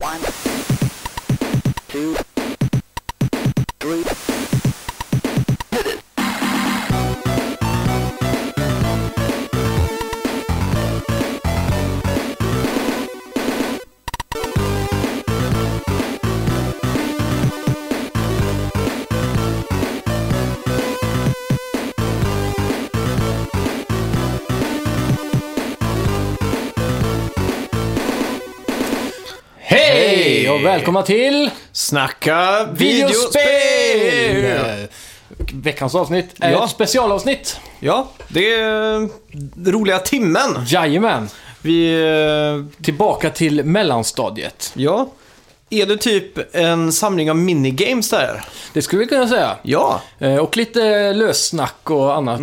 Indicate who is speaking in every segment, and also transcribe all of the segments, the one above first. Speaker 1: One, two, three.
Speaker 2: Hej och välkomna till
Speaker 3: Snacka videospel!
Speaker 2: videospel! Veckans avsnitt är
Speaker 3: Ja.
Speaker 2: ett specialavsnitt.
Speaker 3: Ja, det är eh, roliga timmen.
Speaker 2: Jajamän.
Speaker 3: Vi... eh,
Speaker 2: Tillbaka till mellanstadiet.
Speaker 3: Ja. Är det typ en samling av minigames där?
Speaker 2: Det skulle vi kunna säga.
Speaker 3: Ja. Mm.
Speaker 2: Eh, Och lite lössnack och annat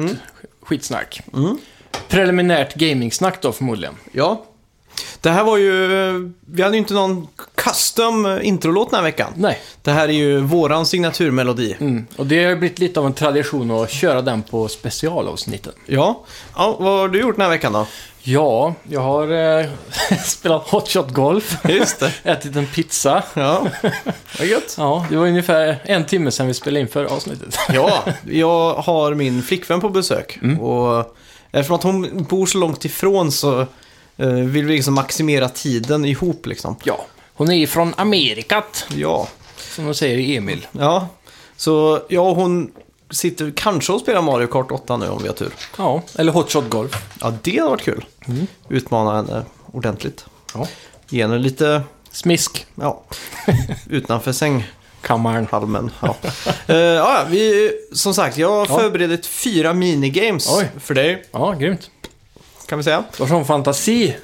Speaker 2: skitsnack. Preliminärt gamingsnack då förmodligen.
Speaker 3: Ja. Det här var ju... eh, Vi hade ju inte någon custom eh, introlåt den här veckan.
Speaker 2: Nej.
Speaker 3: Det här är ju våran signaturmelodi.
Speaker 2: Mm. Och det har ju blivit lite av en tradition att köra den på specialavsnitten.
Speaker 3: Ja. ja. Vad har du gjort den här veckan då?
Speaker 2: Ja, jag har eh, spelat hotshot golf,
Speaker 3: Just det.
Speaker 2: ätit en pizza.
Speaker 3: Ja. Vad gött.
Speaker 2: Ja, det var ungefär en timme sedan vi spelade in förra avsnittet.
Speaker 3: Ja, jag har min flickvän på besök.
Speaker 2: Mm.
Speaker 3: Och eftersom att hon bor så långt ifrån så eh, vill vi liksom maximera tiden ihop liksom.
Speaker 2: Ja, hon är från Amerikat,
Speaker 3: Ja,
Speaker 2: som de säger i Emil.
Speaker 3: ja. Så jag och hon sitter kanske och spelar Mario Kart 8 nu om vi har tur.
Speaker 2: Ja, eller hotshot golf.
Speaker 3: Ja, det har varit kul.
Speaker 2: Mm.
Speaker 3: Utmana henne ordentligt.
Speaker 2: Ja.
Speaker 3: Ge henne lite,
Speaker 2: Smisk,
Speaker 3: ja, utanför sänghalmen.
Speaker 2: kammaren.
Speaker 3: Ja. Eh, ja, vi, som sagt, jag har
Speaker 2: Ja.
Speaker 3: förberett fyra minigames
Speaker 2: Oj.
Speaker 3: för dig,
Speaker 2: Ja, grymt.
Speaker 3: kan vi säga.
Speaker 2: Du har sån fantasi.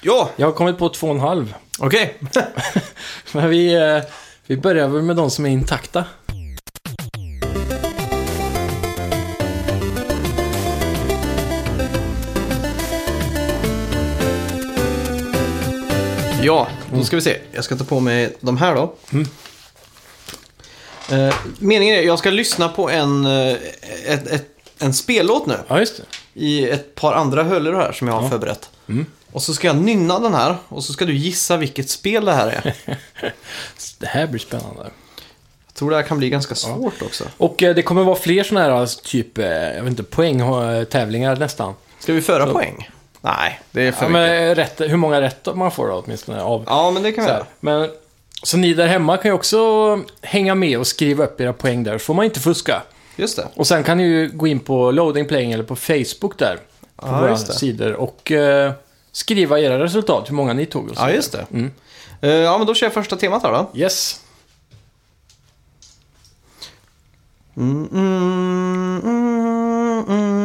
Speaker 3: Ja,
Speaker 2: Jag har kommit på två och en halv.
Speaker 3: okej.
Speaker 2: Men vi, eh, vi börjar väl med de som är intakta.
Speaker 3: Ja, då ska vi se. Jag ska ta på mig de här då.
Speaker 2: Mm.
Speaker 3: Eh, meningen är att jag ska lyssna på en, eh, ett, ett, en spellåt nu
Speaker 2: Ja, just det.
Speaker 3: i ett par andra hörlurar här som jag har förberett.
Speaker 2: Mm.
Speaker 3: Och så ska jag nynna den här och så ska du gissa vilket spel det här är.
Speaker 2: Det här blir spännande.
Speaker 3: Jag tror det här kan bli ganska svårt också.
Speaker 2: Och eh, det kommer vara fler såna här, alltså, typ, eh, jag vet inte, poängtävlingar nästan.
Speaker 3: Ska vi föra poäng? Nej, det är för
Speaker 2: Ja,
Speaker 3: mycket.
Speaker 2: men eh, rätt, hur många rätt man får då, åtminstone av
Speaker 3: Ja, men det kan vi
Speaker 2: Så,
Speaker 3: göra.
Speaker 2: här. men, så ni där hemma kan ju också hänga med och skriva upp era poäng där, så får man inte fuska.
Speaker 3: Just det.
Speaker 2: Och sen kan ni ju gå in på loading playing eller på Facebook där, på
Speaker 3: Ja,
Speaker 2: våra
Speaker 3: just det.
Speaker 2: sidor, och eh, skriva era resultat, hur många ni tog och så
Speaker 3: Ja,
Speaker 2: vidare.
Speaker 3: just det.
Speaker 2: Mm.
Speaker 3: Eh, ja, men då kör jag första temat här då.
Speaker 2: Yes.
Speaker 3: Mm, mm, mm, mm.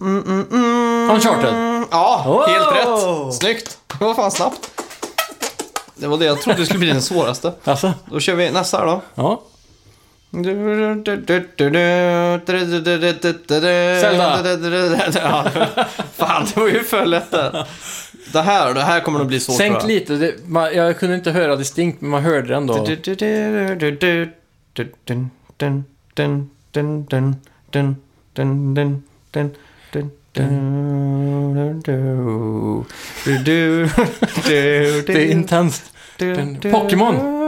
Speaker 3: Mm, mm, mm.
Speaker 2: Uncharted.
Speaker 3: Ja,
Speaker 2: Wow!
Speaker 3: helt rätt. Snyggt. Det var fan snabbt. Det var det jag trodde skulle bli den svåraste.
Speaker 2: Alltså,
Speaker 3: Då kör vi nästa här då.
Speaker 2: ja.
Speaker 3: Zelda. Fan, det var ju för lätt där. Det här, det här kommer nog bli svårt
Speaker 2: Sänk
Speaker 3: tror jag.
Speaker 2: lite, det, man, jag kunde inte höra distinkt, men man hörde det ändå. Det är intensivt. Den- Pokémon.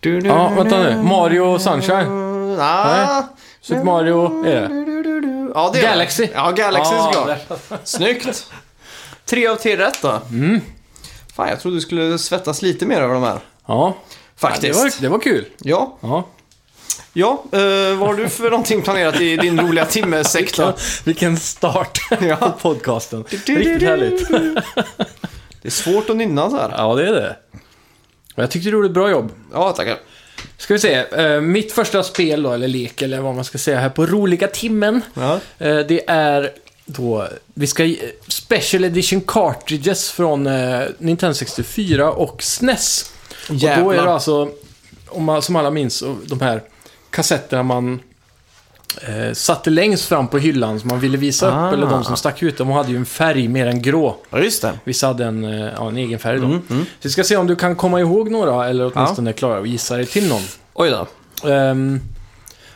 Speaker 2: Ja, vänta nu. Mario Sunshine. Nej.
Speaker 3: Ah.
Speaker 2: Super Mario är det.
Speaker 3: Ja, det är det.
Speaker 2: Galaxy.
Speaker 3: Ja, Galaxy
Speaker 2: Ja,
Speaker 3: såklart. Snyggt. Tre av tre rätt då. Fan, jag trodde du skulle svettas lite mer över de här.
Speaker 2: Ja, det
Speaker 3: Faktiskt. Ja,
Speaker 2: var, det var kul.
Speaker 3: ja.
Speaker 2: Ja.
Speaker 3: eh, vad har du för någonting planerat i din roliga timmesäck då?
Speaker 2: Ja, vilken start på podcasten. Riktigt härligt.
Speaker 3: Det är svårt att nynna så här.
Speaker 2: Ja, det är det. Och Jag tyckte du gjorde ett bra jobb.
Speaker 3: Ja, tackar.
Speaker 2: Ska vi se, eh, mitt första spel då, eller lek, eller vad man ska säga här på roliga timmen.
Speaker 3: Ja.
Speaker 2: Eh, det är då, vi ska ge- Special Edition Cartridges från eh, Nintendo 64 och SNES. Och då är det
Speaker 3: Jävlar.
Speaker 2: alltså, om man, som alla minns, de här kassetterna man eh, satte längst fram på hyllan som man ville visa
Speaker 3: Ah.
Speaker 2: upp. Eller de som stack ut, de hade ju en färg mer än grå.
Speaker 3: Ja, just det.
Speaker 2: Vissa hade en, eh, ja, en egen färg då.
Speaker 3: Mm,
Speaker 2: Så vi ska se om du kan komma ihåg några, eller åtminstone klara att gissa dig till någon.
Speaker 3: Oj då.
Speaker 2: Ehm,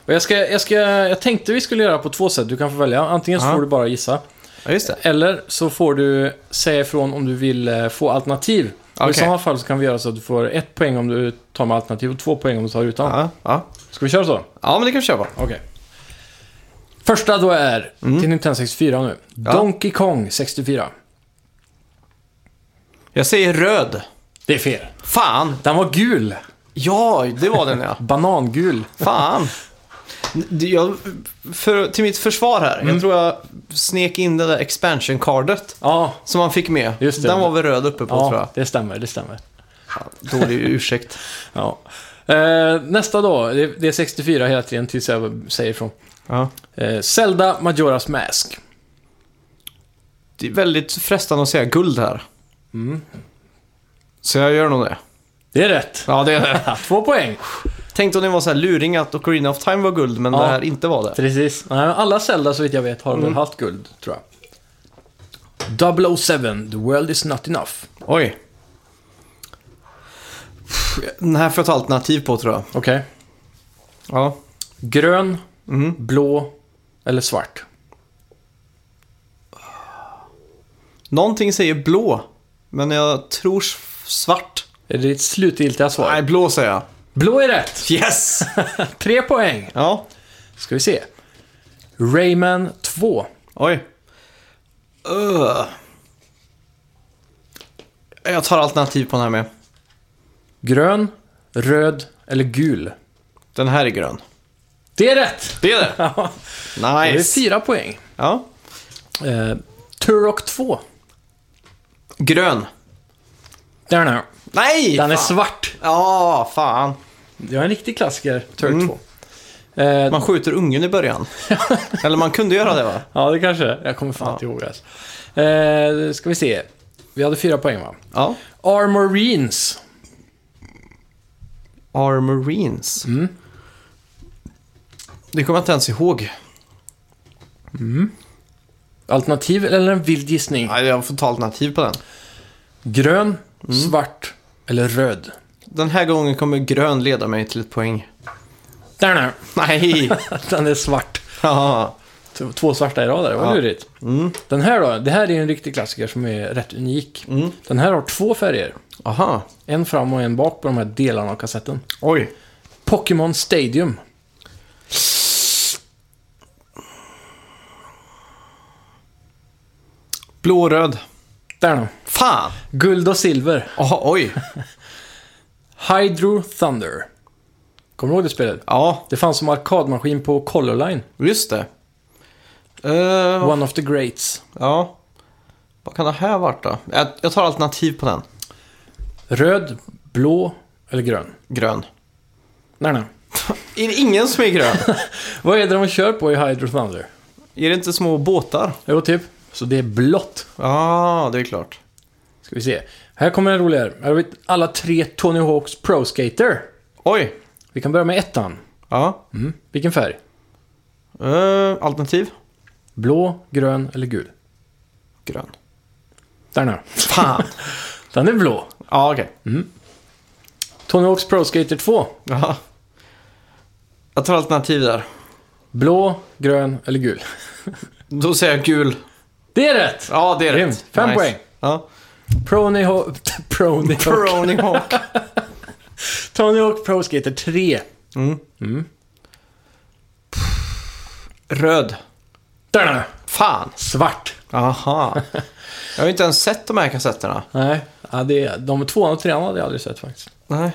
Speaker 2: och jag, ska, jag, ska, jag tänkte vi skulle göra på två sätt. Du kan få välja. Antingen så
Speaker 3: Ja.
Speaker 2: får du bara gissa.
Speaker 3: Ja, just det.
Speaker 2: Eller så får du säga ifrån om du vill eh, få alternativ. Och I
Speaker 3: Okej.
Speaker 2: sådana fall så kan vi göra så att du får ett poäng om du tar med alternativ och två poäng om du tar utan.
Speaker 3: Ja, ja.
Speaker 2: Ska vi köra så?
Speaker 3: ja men det kan vi köra på.
Speaker 2: Okej. Första då är
Speaker 3: Mm.
Speaker 2: till Nintendo 64 nu. Donkey Kong 64.
Speaker 3: Jag säger röd.
Speaker 2: Det är fel.
Speaker 3: Fan!
Speaker 2: Den var gul.
Speaker 3: Ja, det var den ja.
Speaker 2: Banangul.
Speaker 3: Fan! Det- Jag, för, till mitt försvar här, jag tror jag snek in det där expansion-cardet
Speaker 2: Ja,
Speaker 3: som man fick med.
Speaker 2: Just det.
Speaker 3: Den var väl röd uppe på tror jag.
Speaker 2: ja det stämmer. Det stämmer.
Speaker 3: Dålig ursäkt.
Speaker 2: Ja. Eh, nästa då. Det, det är 64 hela tiden tills jag säger ifrån.
Speaker 3: Ja.
Speaker 2: Eh, Zelda Majoras Mask.
Speaker 3: Det är väldigt frestande att säga guld här. Mm. Så jag gör nog det.
Speaker 2: Det är rätt.
Speaker 3: Ja, det är det.
Speaker 2: Två poäng.
Speaker 3: Tänkte om det var så här luring att Ocarina of Time var guld, men
Speaker 2: Ja.
Speaker 3: det här inte var det.
Speaker 2: Precis. Nej, men alla Zelda så vitt jag vet har
Speaker 3: Mm.
Speaker 2: väl haft guld, tror jag. 007, The World Is Not Enough.
Speaker 3: Oj. Den här får jag ta alternativ på tror jag.
Speaker 2: Okej.
Speaker 3: Ja.
Speaker 2: Grön,
Speaker 3: Mm.
Speaker 2: blå eller svart?
Speaker 3: Någonting säger blå, men jag tror s- svart.
Speaker 2: Är det ditt slutgiltiga svar?
Speaker 3: Nej, blå säger jag.
Speaker 2: Blå är rätt!
Speaker 3: Yes!
Speaker 2: Tre poäng.
Speaker 3: ja,
Speaker 2: Ska vi se. Rayman 2.
Speaker 3: oj. Öh. Jag tar alternativ på den här med.
Speaker 2: Grön, röd eller gul?
Speaker 3: Den här är grön.
Speaker 2: Det är rätt!
Speaker 3: Det är det!
Speaker 2: Ja, Det är
Speaker 3: Nice!
Speaker 2: fyra poäng.
Speaker 3: Ja.
Speaker 2: Eh, Turok 2.
Speaker 3: Grön.
Speaker 2: Där den är.
Speaker 3: Nej!
Speaker 2: Den är
Speaker 3: fan.
Speaker 2: svart.
Speaker 3: Ja, fan.
Speaker 2: Det var en riktig klassiker, Turok
Speaker 3: Mm.
Speaker 2: 2. Eh,
Speaker 3: Man skjuter ungen i början. Eller man kunde göra det va?
Speaker 2: Ja, det kanske. Jag kommer fan
Speaker 3: Ja.
Speaker 2: inte ihåg det. Alltså. Eh, ska vi se. Vi hade fyra poäng va?
Speaker 3: Ja.
Speaker 2: Armorines.
Speaker 3: Armorines.
Speaker 2: Mm.
Speaker 3: Det kommer jag inte ens ihåg.
Speaker 2: Alternativ eller en vild gissning?
Speaker 3: Nej, Mm. jag får ta alternativ på den.
Speaker 2: Grön, svart eller röd?
Speaker 3: Den här gången kommer grön leda mig till ett poäng.
Speaker 2: Där den är.
Speaker 3: Nej!
Speaker 2: Den är svart.
Speaker 3: Ja.
Speaker 2: T- Två svarta i rad där, det var
Speaker 3: Ja. Mm.
Speaker 2: lurigt. Den här då, det här är en riktig klassiker som är rätt unik.
Speaker 3: Mm.
Speaker 2: Den här har två färger.
Speaker 3: Aha.
Speaker 2: En fram och en bak på de här delarna av kassetten.
Speaker 3: Oj.
Speaker 2: Pokémon Stadium.
Speaker 3: Blå-röd.
Speaker 2: Där den är.
Speaker 3: Fan!
Speaker 2: Guld och silver.
Speaker 3: Aha, oj.
Speaker 2: Hydro Thunder. Kommer du ihåg det spelet?
Speaker 3: Ja,
Speaker 2: Det fanns som arkadmaskin på Color Line.
Speaker 3: just det. Eh,
Speaker 2: One of the Greats.
Speaker 3: ja. Vad kan det här varit då? Jag, jag tar alternativ på den.
Speaker 2: Röd, blå eller grön?
Speaker 3: Grön.
Speaker 2: Nej, nej.
Speaker 3: Är det ingen som är grön?
Speaker 2: Vad är det de kör på i Hydro Thunder?
Speaker 3: är det inte små båtar?
Speaker 2: Jo, typ. Så det är blått.
Speaker 3: Ja, det är klart.
Speaker 2: Ska vi se. Här kommer en roligare. Här har vi alla tre Tony Hawks Pro Skater.
Speaker 3: Oj.
Speaker 2: Vi kan börja med ettan.
Speaker 3: Ja.
Speaker 2: Mm. Vilken färg?
Speaker 3: Eh, alternativ?
Speaker 2: Blå, grön eller gul?
Speaker 3: Grön.
Speaker 2: Där nu.
Speaker 3: Fan.
Speaker 2: Den är blå.
Speaker 3: ja, okej.
Speaker 2: Mm. Tony Hawks Pro Skater 2.
Speaker 3: Ja. Jag tar alternativ där.
Speaker 2: Blå, grön eller gul?
Speaker 3: Då säger jag gul.
Speaker 2: Det är rätt!
Speaker 3: Ja, det är
Speaker 2: Grymt.
Speaker 3: rätt.
Speaker 2: Fem poäng.
Speaker 3: Ja.
Speaker 2: Prony Hawk... Prony Hawk.
Speaker 3: Brony Hawk.
Speaker 2: Tony Hawk Pro Skater 3.
Speaker 3: Röd.
Speaker 2: Där nu.
Speaker 3: Fan.
Speaker 2: Svart.
Speaker 3: Aha. Jag har ju inte ens sett de här kassetterna.
Speaker 2: Nej, ja, det, de tvåan och trean hade jag aldrig sett faktiskt.
Speaker 3: Nej.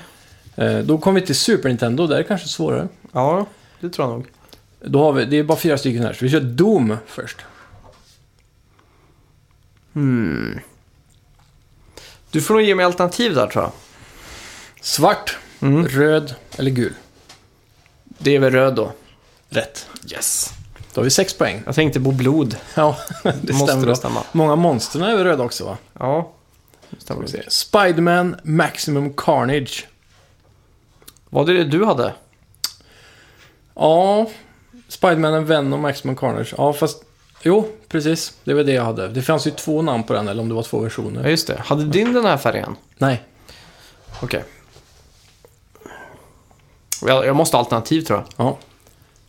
Speaker 2: Eh, då kommer vi till Super Nintendo, där är det kanske svårare.
Speaker 3: Ja, det tror jag nog.
Speaker 2: Då har vi, det är bara fyra stycken här, så vi kör Doom först.
Speaker 3: Du får nog ge mig alternativ där tror jag.
Speaker 2: Svart, röd eller gul?
Speaker 3: Det är väl röd då.
Speaker 2: Rätt.
Speaker 3: Yes.
Speaker 2: Då har vi sex poäng.
Speaker 3: Jag tänkte på blod.
Speaker 2: Ja, det
Speaker 3: Måste
Speaker 2: stämmer.
Speaker 3: det
Speaker 2: bra.
Speaker 3: stämma.
Speaker 2: Många monstren är väl röda också va?
Speaker 3: Ja.
Speaker 2: Ska vi se. Spiderman Maximum Carnage.
Speaker 3: Var det det du hade?
Speaker 2: Ja, Spiderman and Venom och X-Men Carnage. Ja, fast... Jo, precis. Det var det jag hade. Det fanns ju två namn på den, eller om det var två versioner.
Speaker 3: Ja, just det. Hade din den här färgen?
Speaker 2: Nej.
Speaker 3: Okej. Jag, jag måste ha alternativ tror jag.
Speaker 2: Ja.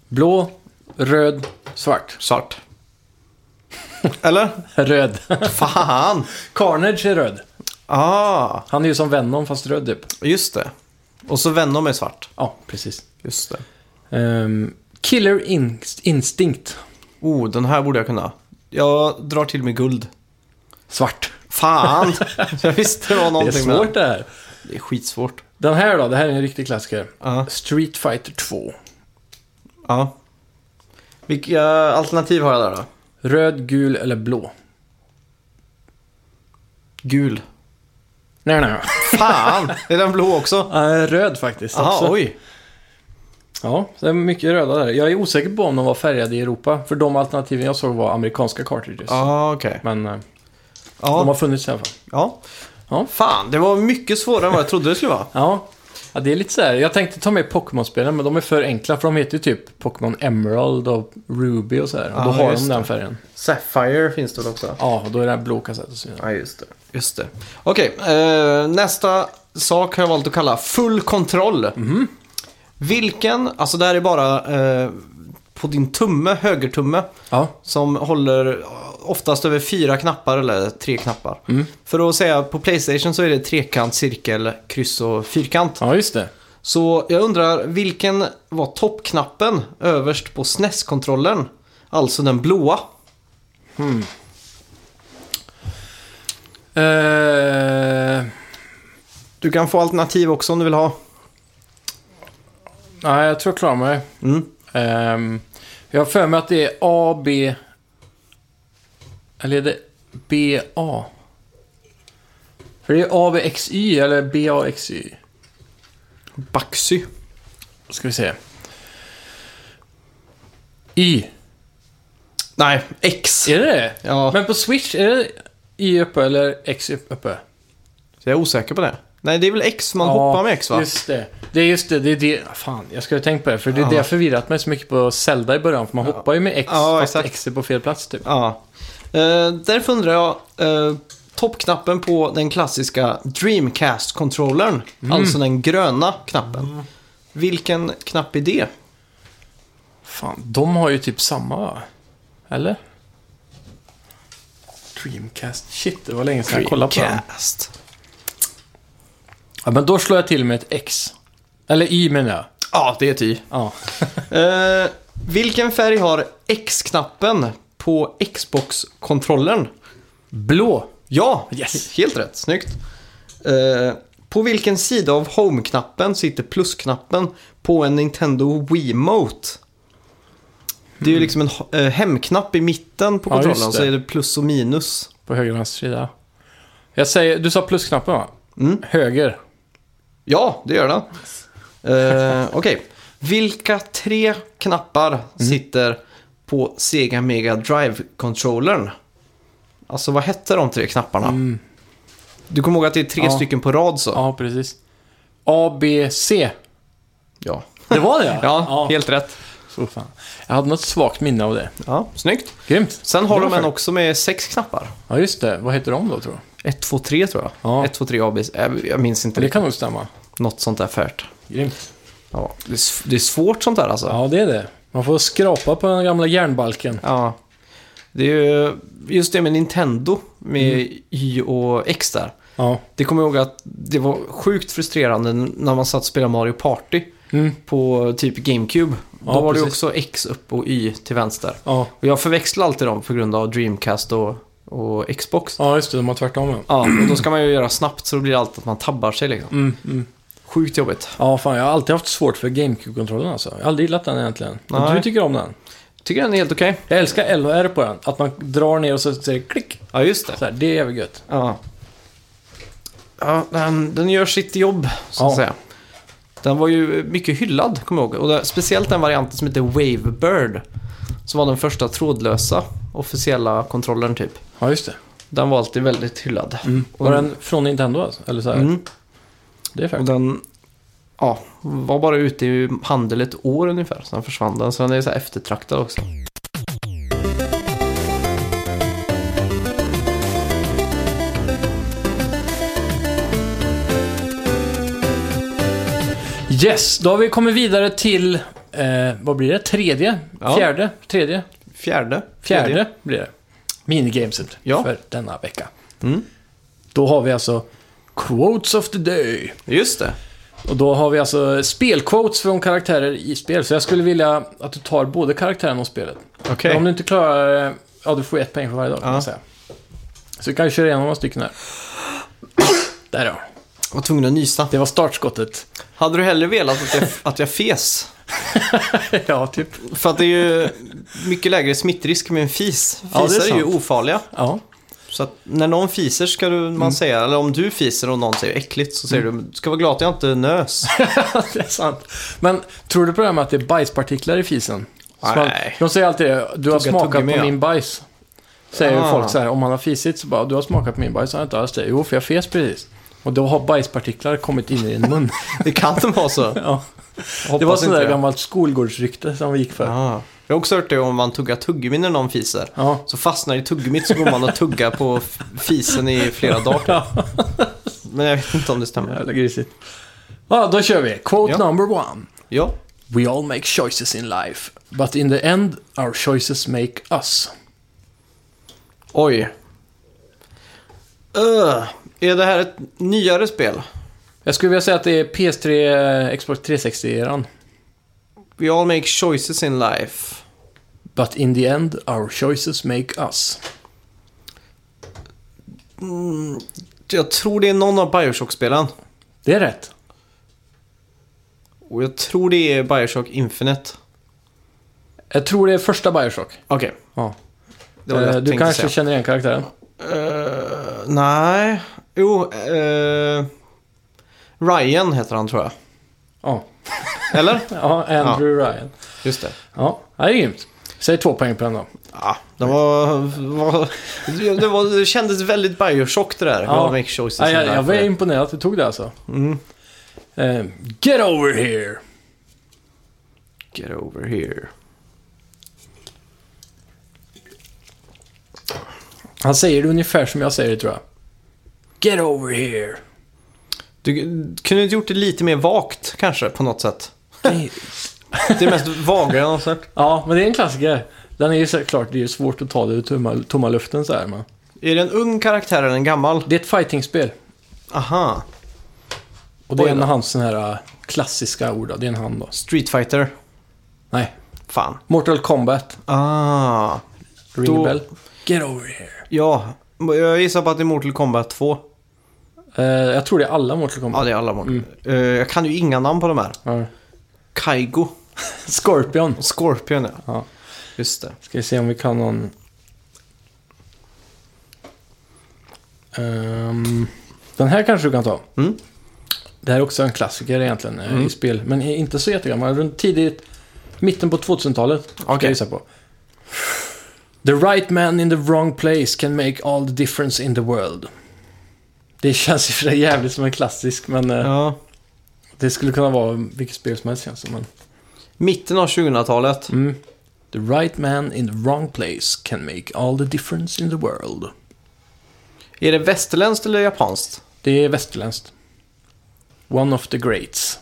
Speaker 2: Blå, röd, svart.
Speaker 3: Svart. Eller?
Speaker 2: Röd.
Speaker 3: Fan!
Speaker 2: Carnage är röd.
Speaker 3: Ah,
Speaker 2: Han är ju som Venom fast röd typ.
Speaker 3: just det. Och så Venom är svart.
Speaker 2: Ja, precis.
Speaker 3: Just det.
Speaker 2: Ehm, Killer Inst- Instinct.
Speaker 3: Oh, den här borde jag kunna. Jag drar till med guld.
Speaker 2: Svart.
Speaker 3: Fan! jag visste det var
Speaker 2: Det är
Speaker 3: någonting med
Speaker 2: svårt det här.
Speaker 3: det. Det är skitsvårt.
Speaker 2: Den här då, det här är en riktig klassiker.
Speaker 3: Ja.
Speaker 2: Street Fighter 2.
Speaker 3: ja. Vilka alternativ har jag där då?
Speaker 2: Röd, gul eller blå?
Speaker 3: Gul.
Speaker 2: Nej, nej.
Speaker 3: Fan! Är den blå också?
Speaker 2: nej. röd faktiskt
Speaker 3: Aha,
Speaker 2: också.
Speaker 3: oj.
Speaker 2: Ja, så det är mycket röda där. Jag är osäker på om de var färgade i Europa, för de alternativen jag såg var amerikanska cartridges.
Speaker 3: Ja, ah, okej.
Speaker 2: Men eh, de har
Speaker 3: Ja,
Speaker 2: funnits i alla fall.
Speaker 3: ja.
Speaker 2: Ja.
Speaker 3: Fan, det var mycket svårare än vad jag trodde det skulle vara.
Speaker 2: Ja. ja, det är lite så här. Jag tänkte ta med Pokémon-spelen, men de är för enkla, för de heter ju typ Pokémon Emerald och Ruby och så här. Och då
Speaker 3: Ja,
Speaker 2: har de
Speaker 3: just
Speaker 2: den
Speaker 3: det.
Speaker 2: färgen.
Speaker 3: Sapphire finns det väl också?
Speaker 2: Ja, och då är det här blå kassett och så vidare.
Speaker 3: Ja, just det. Just det. Okej, eh, nästa sak har jag valt att kalla full kontroll. Vilken, alltså det här är bara eh, på din tumme, högertumme,
Speaker 2: Ja,
Speaker 3: som håller oftast över fyra knappar eller tre knappar. För att säga på Playstation så är det trekant, cirkel, kryss och fyrkant.
Speaker 2: ja just det.
Speaker 3: Så jag undrar, vilken var toppknappen överst på SNES-kontrollen? Alltså den blåa.
Speaker 2: Eh,
Speaker 3: Du kan få alternativ också om du vill ha.
Speaker 2: nej, jag tror jag klarar mig.
Speaker 3: Mm.
Speaker 2: Ehm, jag har för mig att det är A, B... Eller är det B, A? För det är A, B, X, Y eller B, A, X, Y.
Speaker 3: Baxy.
Speaker 2: Ska vi se. Y.
Speaker 3: Nej, X.
Speaker 2: Är det det?
Speaker 3: Ja,
Speaker 2: Men på Switch, är det Y uppe eller X uppe?
Speaker 3: jag är osäker på det. Nej, det är väl X man
Speaker 2: Ja,
Speaker 3: hoppar med X va?
Speaker 2: Just det. Det är just det. det, är det. ah, Fan, jag skulle ha tänkt på det. För det är
Speaker 3: Ja.
Speaker 2: det jag förvirrat mig så mycket på Zelda i början. För man hoppar ju med X
Speaker 3: Ja,
Speaker 2: fast
Speaker 3: exakt.
Speaker 2: X är på fel plats typ.
Speaker 3: Ja. Eh, därför undrar jag, eh, toppknappen på den klassiska Dreamcast-controllern, alltså den gröna knappen. Vilken knapp är det?
Speaker 2: Fan, de har ju typ samma va? Eller? Dreamcast. Shit, det var länge sedan jag kollade på den.
Speaker 3: Dreamcast.
Speaker 2: Ja, men då slår jag till med ett X. Eller Y menar jag.
Speaker 3: Ja, det är ett Y.
Speaker 2: Ja.
Speaker 3: Eh, vilken färg har X-knappen på Xbox-kontrollern?
Speaker 2: Blå.
Speaker 3: Ja,
Speaker 2: Yes.
Speaker 3: helt rätt. Snyggt. Eh, på vilken sida av Home-knappen sitter plusknappen på en Nintendo Wiimote? Det är ju liksom en h- eh, hemknapp i mitten på
Speaker 2: Hmm. Ja,
Speaker 3: kontrollen,
Speaker 2: just det.
Speaker 3: så är det plus och minus.
Speaker 2: På höger och vänster sida. Jag säger, du sa plusknappen va?
Speaker 3: Mm.
Speaker 2: Höger.
Speaker 3: Ja, det gör den. Eh, Okej. Vilka tre knappar
Speaker 2: Mm.
Speaker 3: sitter på Sega Mega Drive-controllern? Alltså, vad hette de tre knapparna?
Speaker 2: Mm.
Speaker 3: Du kommer ihåg att det är tre
Speaker 2: Ja.
Speaker 3: stycken på rad så?
Speaker 2: Ja, precis. A, B, C.
Speaker 3: Ja,
Speaker 2: Det var det
Speaker 3: ja, helt rätt.
Speaker 2: Så fan. Jag hade något svagt minne av det.
Speaker 3: Ja, snyggt.
Speaker 2: Grymt.
Speaker 3: Sen har
Speaker 2: Det var
Speaker 3: de en
Speaker 2: skönt.
Speaker 3: också med sex knappar.
Speaker 2: Ja, just det. Vad heter de då, tror du?
Speaker 3: 1, 2, 3 tror jag.
Speaker 2: Ja.
Speaker 3: 1, 2, 3 ABC. Jag jag minns inte.
Speaker 2: Men det
Speaker 3: riktigt.
Speaker 2: kan nog stämma.
Speaker 3: Något sånt där färt.
Speaker 2: Grymt.
Speaker 3: Ja. Det, är, s- det är svårt sånt där alltså. Ja.
Speaker 2: Ja, det är det. Man får skrapa på den gamla järnbalken.
Speaker 3: Det är ju just det med Nintendo med Y och X där.
Speaker 2: Mm. Ja.
Speaker 3: Det kommer jag ihåg att det var sjukt frustrerande när man satt och spelade Mario Party
Speaker 2: Mm.
Speaker 3: på typ GameCube. Då
Speaker 2: Ja,
Speaker 3: var det ju
Speaker 2: precis.
Speaker 3: också X upp och Y till vänster.
Speaker 2: Ja.
Speaker 3: Och jag förväxlar alltid dem på grund av Dreamcast och, och Xbox.
Speaker 2: ja, just det. De har tvärtom. ja.
Speaker 3: Ja, och då ska man ju göra snabbt så då blir det alltid att man tabbar sig liksom.
Speaker 2: Mm, mm.
Speaker 3: Sjukt jobbigt.
Speaker 2: Ja, fan. Jag har alltid haft svårt för GameCube-kontrollen alltså. Jag har aldrig gillat den egentligen. Men
Speaker 3: Nej.
Speaker 2: du tycker om den.
Speaker 3: Tycker den är helt okej.
Speaker 2: Jag älskar L och R på den. Att man drar ner och så säger det klick.
Speaker 3: Ja, just
Speaker 2: Så här, det är jävligt gött.
Speaker 3: Ja. Ja, den, den gör sitt jobb, så att
Speaker 2: Ja.
Speaker 3: säga. Den var ju mycket hyllad, kommer jag ihåg. Och det, speciellt den varianten som heter Wavebird. Som var den första trådlösa officiella kontrollen, typ.
Speaker 2: Ja, just det.
Speaker 3: Den var alltid
Speaker 2: Mm.
Speaker 3: väldigt hyllad.
Speaker 2: Var den från Nintendo alltså? Eller så här?
Speaker 3: Mm.
Speaker 2: Det är
Speaker 3: Och
Speaker 2: faktiskt.
Speaker 3: den ja, var bara ute i handel ett år ungefär. Sen försvann den, så den är så här eftertraktad också.
Speaker 2: Yes, då har vi kommit vidare till, eh, vad blir det? Tredje?
Speaker 3: Ja.
Speaker 2: Fjärde? Tredje?
Speaker 3: Fjärde.
Speaker 2: Fjärde blir det. Minigameset
Speaker 3: Ja.
Speaker 2: för denna vecka.
Speaker 3: Mm.
Speaker 2: Då har vi alltså Quotes of the Day.
Speaker 3: Just det.
Speaker 2: Och då har vi alltså spelquotes från karaktärer i spel. Så jag skulle vilja att du tar både karaktären och spelet.
Speaker 3: Okej.
Speaker 2: Men om du inte klarar... eh, Ja, du får ett poäng för varje dag kan
Speaker 3: Ja.
Speaker 2: man säga. Så vi kan ju köra igenom några stycken här. Där ja.
Speaker 3: Var tvungen att nysa.
Speaker 2: Det var startskottet.
Speaker 3: Hade du hellre velat att jag, att jag fes?
Speaker 2: ja, typ.
Speaker 3: För att det är ju mycket lägre smittrisk med en fis.
Speaker 2: Ja, det är
Speaker 3: Fisar är, ju
Speaker 2: sant.
Speaker 3: ofarliga.
Speaker 2: Ja.
Speaker 3: Så att när någon fiser ska du, man
Speaker 2: Mm.
Speaker 3: säga, eller om du fiser och någon säger äckligt så säger du, du ska vara glad att jag inte nös.
Speaker 2: det är sant. Men tror du på det här med att det är bajspartiklar i fisen? Så man-
Speaker 3: Nej.
Speaker 2: De säger alltid det, du har
Speaker 3: Tugga
Speaker 2: smakat
Speaker 3: tuggummi,
Speaker 2: på
Speaker 3: ja.
Speaker 2: min bajs. Säger
Speaker 3: Ah.
Speaker 2: folk så här, om man har fisit så bara, du har smakat på min bajs. Så har jag inte alls det. Jo, för jag fes precis. Och då har bajspartiklar kommit in i din mun.
Speaker 3: Det kan de vara så.
Speaker 2: ja.
Speaker 3: Hoppas
Speaker 2: Det var sånt
Speaker 3: inte
Speaker 2: där
Speaker 3: det.
Speaker 2: gammalt skolgårdsrykte som vi gick för. Ja.
Speaker 3: Ja. Jag har också hört det om man tuggar tuggummi när någon fiser.
Speaker 2: Ja.
Speaker 3: Så fastnar det i tuggummit så går man och tuggar på f- fisen i flera dagar. Men jag vet inte om det stämmer.
Speaker 2: Jävla grisigt. Ja, då kör vi. Quote
Speaker 3: Ja.
Speaker 2: number one.
Speaker 3: Ja,
Speaker 2: We all make choices in life, but in the end our choices make us.
Speaker 3: oj. Öh, är det här ett nyare spel?
Speaker 2: Jag skulle vilja säga att det är PS3, eh, Xbox 360-eran.
Speaker 3: We all make choices in life.
Speaker 2: But in the end our choices make us.
Speaker 3: Jag tror det är någon av Bioshock-spelen.
Speaker 2: Det är rätt.
Speaker 3: Och jag tror det är Bioshock Infinite.
Speaker 2: Jag tror det är första Bioshock.
Speaker 3: Okej,
Speaker 2: Ja.
Speaker 3: det var det
Speaker 2: Eh,
Speaker 3: jag
Speaker 2: du
Speaker 3: tänkte
Speaker 2: kanske
Speaker 3: säga.
Speaker 2: känner igen karaktären?
Speaker 3: Eh, nej. Jo, eh, Ryan heter han tror jag.
Speaker 2: Ja.
Speaker 3: Eller?
Speaker 2: Ja, Andrew Ryan.
Speaker 3: Just det.
Speaker 2: Ja, det är grymt. Säg två poäng på den då.
Speaker 3: Ja, det var, var, det var... Det kändes väldigt Bioshock det där.
Speaker 2: Ja.
Speaker 3: Ja. Make choices
Speaker 2: Ja, jag,
Speaker 3: in
Speaker 2: jag var
Speaker 3: life.
Speaker 2: imponerad att du tog det alltså. Eh, get over here!
Speaker 3: Get over here.
Speaker 2: Han säger det ungefär som jag säger det tror jag. Get over here!
Speaker 3: Du kunde inte gjort det lite mer vagt kanske på något sätt. Det är mest vaga jag någonsin.
Speaker 2: ja, men det är en klassiker. Den är ju såklart, det är ju svårt att ta det ur tomma, tomma luften så här. Men.
Speaker 3: Är det en ung karaktär eller en gammal?
Speaker 2: Det är ett fightingspel.
Speaker 3: Aha.
Speaker 2: Och det
Speaker 3: Oj
Speaker 2: är en
Speaker 3: då.
Speaker 2: av hans sån här äh, klassiska ord. då. Det är en han då.
Speaker 3: Street Fighter.
Speaker 2: Nej.
Speaker 3: Fan.
Speaker 2: Mortal Kombat.
Speaker 3: Ah.
Speaker 2: Ring
Speaker 3: Då-
Speaker 2: a bell. Get over here.
Speaker 3: Ja, jag gissar på att det är Mortal Kombat 2.
Speaker 2: Eh, jag tror det är alla Mortal
Speaker 3: Ja,
Speaker 2: Kombat.
Speaker 3: det är alla
Speaker 2: Mm.
Speaker 3: Mortal Eh, Jag kan ju inga namn på de här.
Speaker 2: Ja.
Speaker 3: Kaigo.
Speaker 2: Scorpion.
Speaker 3: Scorpion, ja.
Speaker 2: Ja.
Speaker 3: Just det.
Speaker 2: Ska vi se om vi kan någon... Ehm, den här kanske du kan ta.
Speaker 3: Mm.
Speaker 2: Det här är också en klassiker egentligen eh, i spel, men i- inte så jättegammal. Runt tidigt, mitten på 2000-talet. ska
Speaker 3: Okej.
Speaker 2: jag gissa på. The right man in the wrong place can make all the difference in the world. Det känns i och för sig jävligt som en klassisk, men eh,
Speaker 3: Ja.
Speaker 2: det skulle kunna vara vilket spel som helst känns det som. men-
Speaker 3: Mitten av 2000-talet.
Speaker 2: Mm. The right man in the wrong place can make all the difference in the world.
Speaker 3: Är det västerländskt eller japanskt?
Speaker 2: Det är västerländskt. One of the greats.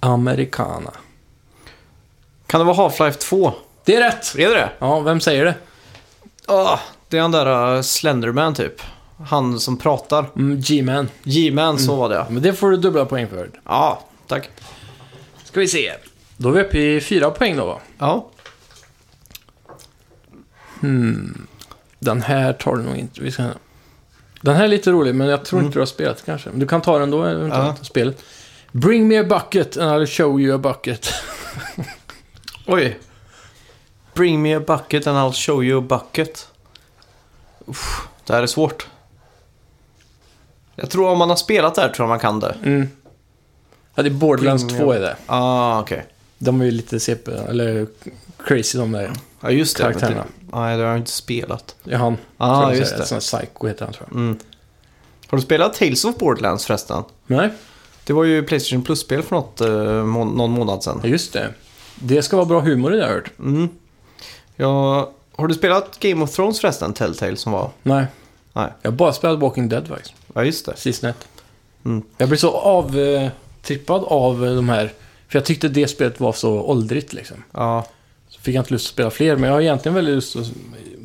Speaker 2: Americana.
Speaker 3: Kan det vara Half-Life 2?
Speaker 2: Det är rätt!
Speaker 3: Är det det?
Speaker 2: Ja, vem säger det?
Speaker 3: Ah, det är han där eh, Slenderman typ. Han som pratar.
Speaker 2: Mm, G-man.
Speaker 3: G-Man, så var det ja.
Speaker 2: Men det får du dubbla poäng för.
Speaker 3: Ja, tack.
Speaker 2: Ska vi se. Då är vi uppe i fyra poäng då va?
Speaker 3: Ja.
Speaker 2: Den här tar du nog inte. Vi ska... Den här är lite rolig, men jag tror inte du har spelat kanske. Men du kan ta den då, eventuellt,
Speaker 3: Mm. Ja.
Speaker 2: spelet. Bring me a bucket and I'll show you a bucket.
Speaker 3: Oj. Bring me a bucket and I'll show you a bucket. Uff, det här är svårt. Jag tror om man har spelat det här tror jag man kan det.
Speaker 2: Ja, det är Borderlands
Speaker 3: Bring me
Speaker 2: 2 är det.
Speaker 3: Ah, okej.
Speaker 2: De är ju lite CP, eller crazy de där.
Speaker 3: Ja, just det.
Speaker 2: Karaktärerna.
Speaker 3: Men det- Nej, det har jag inte spelat.
Speaker 2: Det är han.
Speaker 3: Ah,
Speaker 2: tror jag
Speaker 3: just
Speaker 2: säger.
Speaker 3: det.
Speaker 2: Sån här psycho heter han tror jag.
Speaker 3: Mm. Har du spelat Tales of Borderlands förresten?
Speaker 2: Nej,
Speaker 3: Det var ju Playstation Plus-spel för något, eh, må- någon månad sedan.
Speaker 2: just det. Det ska vara bra humor i det har jag hört.
Speaker 3: Mm. Ja, har du spelat Game of Thrones förresten, Telltale som var?
Speaker 2: Nej,
Speaker 3: Nej,
Speaker 2: jag har bara spelat Walking Dead faktiskt.
Speaker 3: ja just det.
Speaker 2: Sisnet.
Speaker 3: Mm.
Speaker 2: Jag blir så avtrippad av eh, de här. För jag tyckte det spelet var så åldrigt liksom.
Speaker 3: Ja,
Speaker 2: Så fick jag inte lust att spela fler, men jag har egentligen väldigt lust att...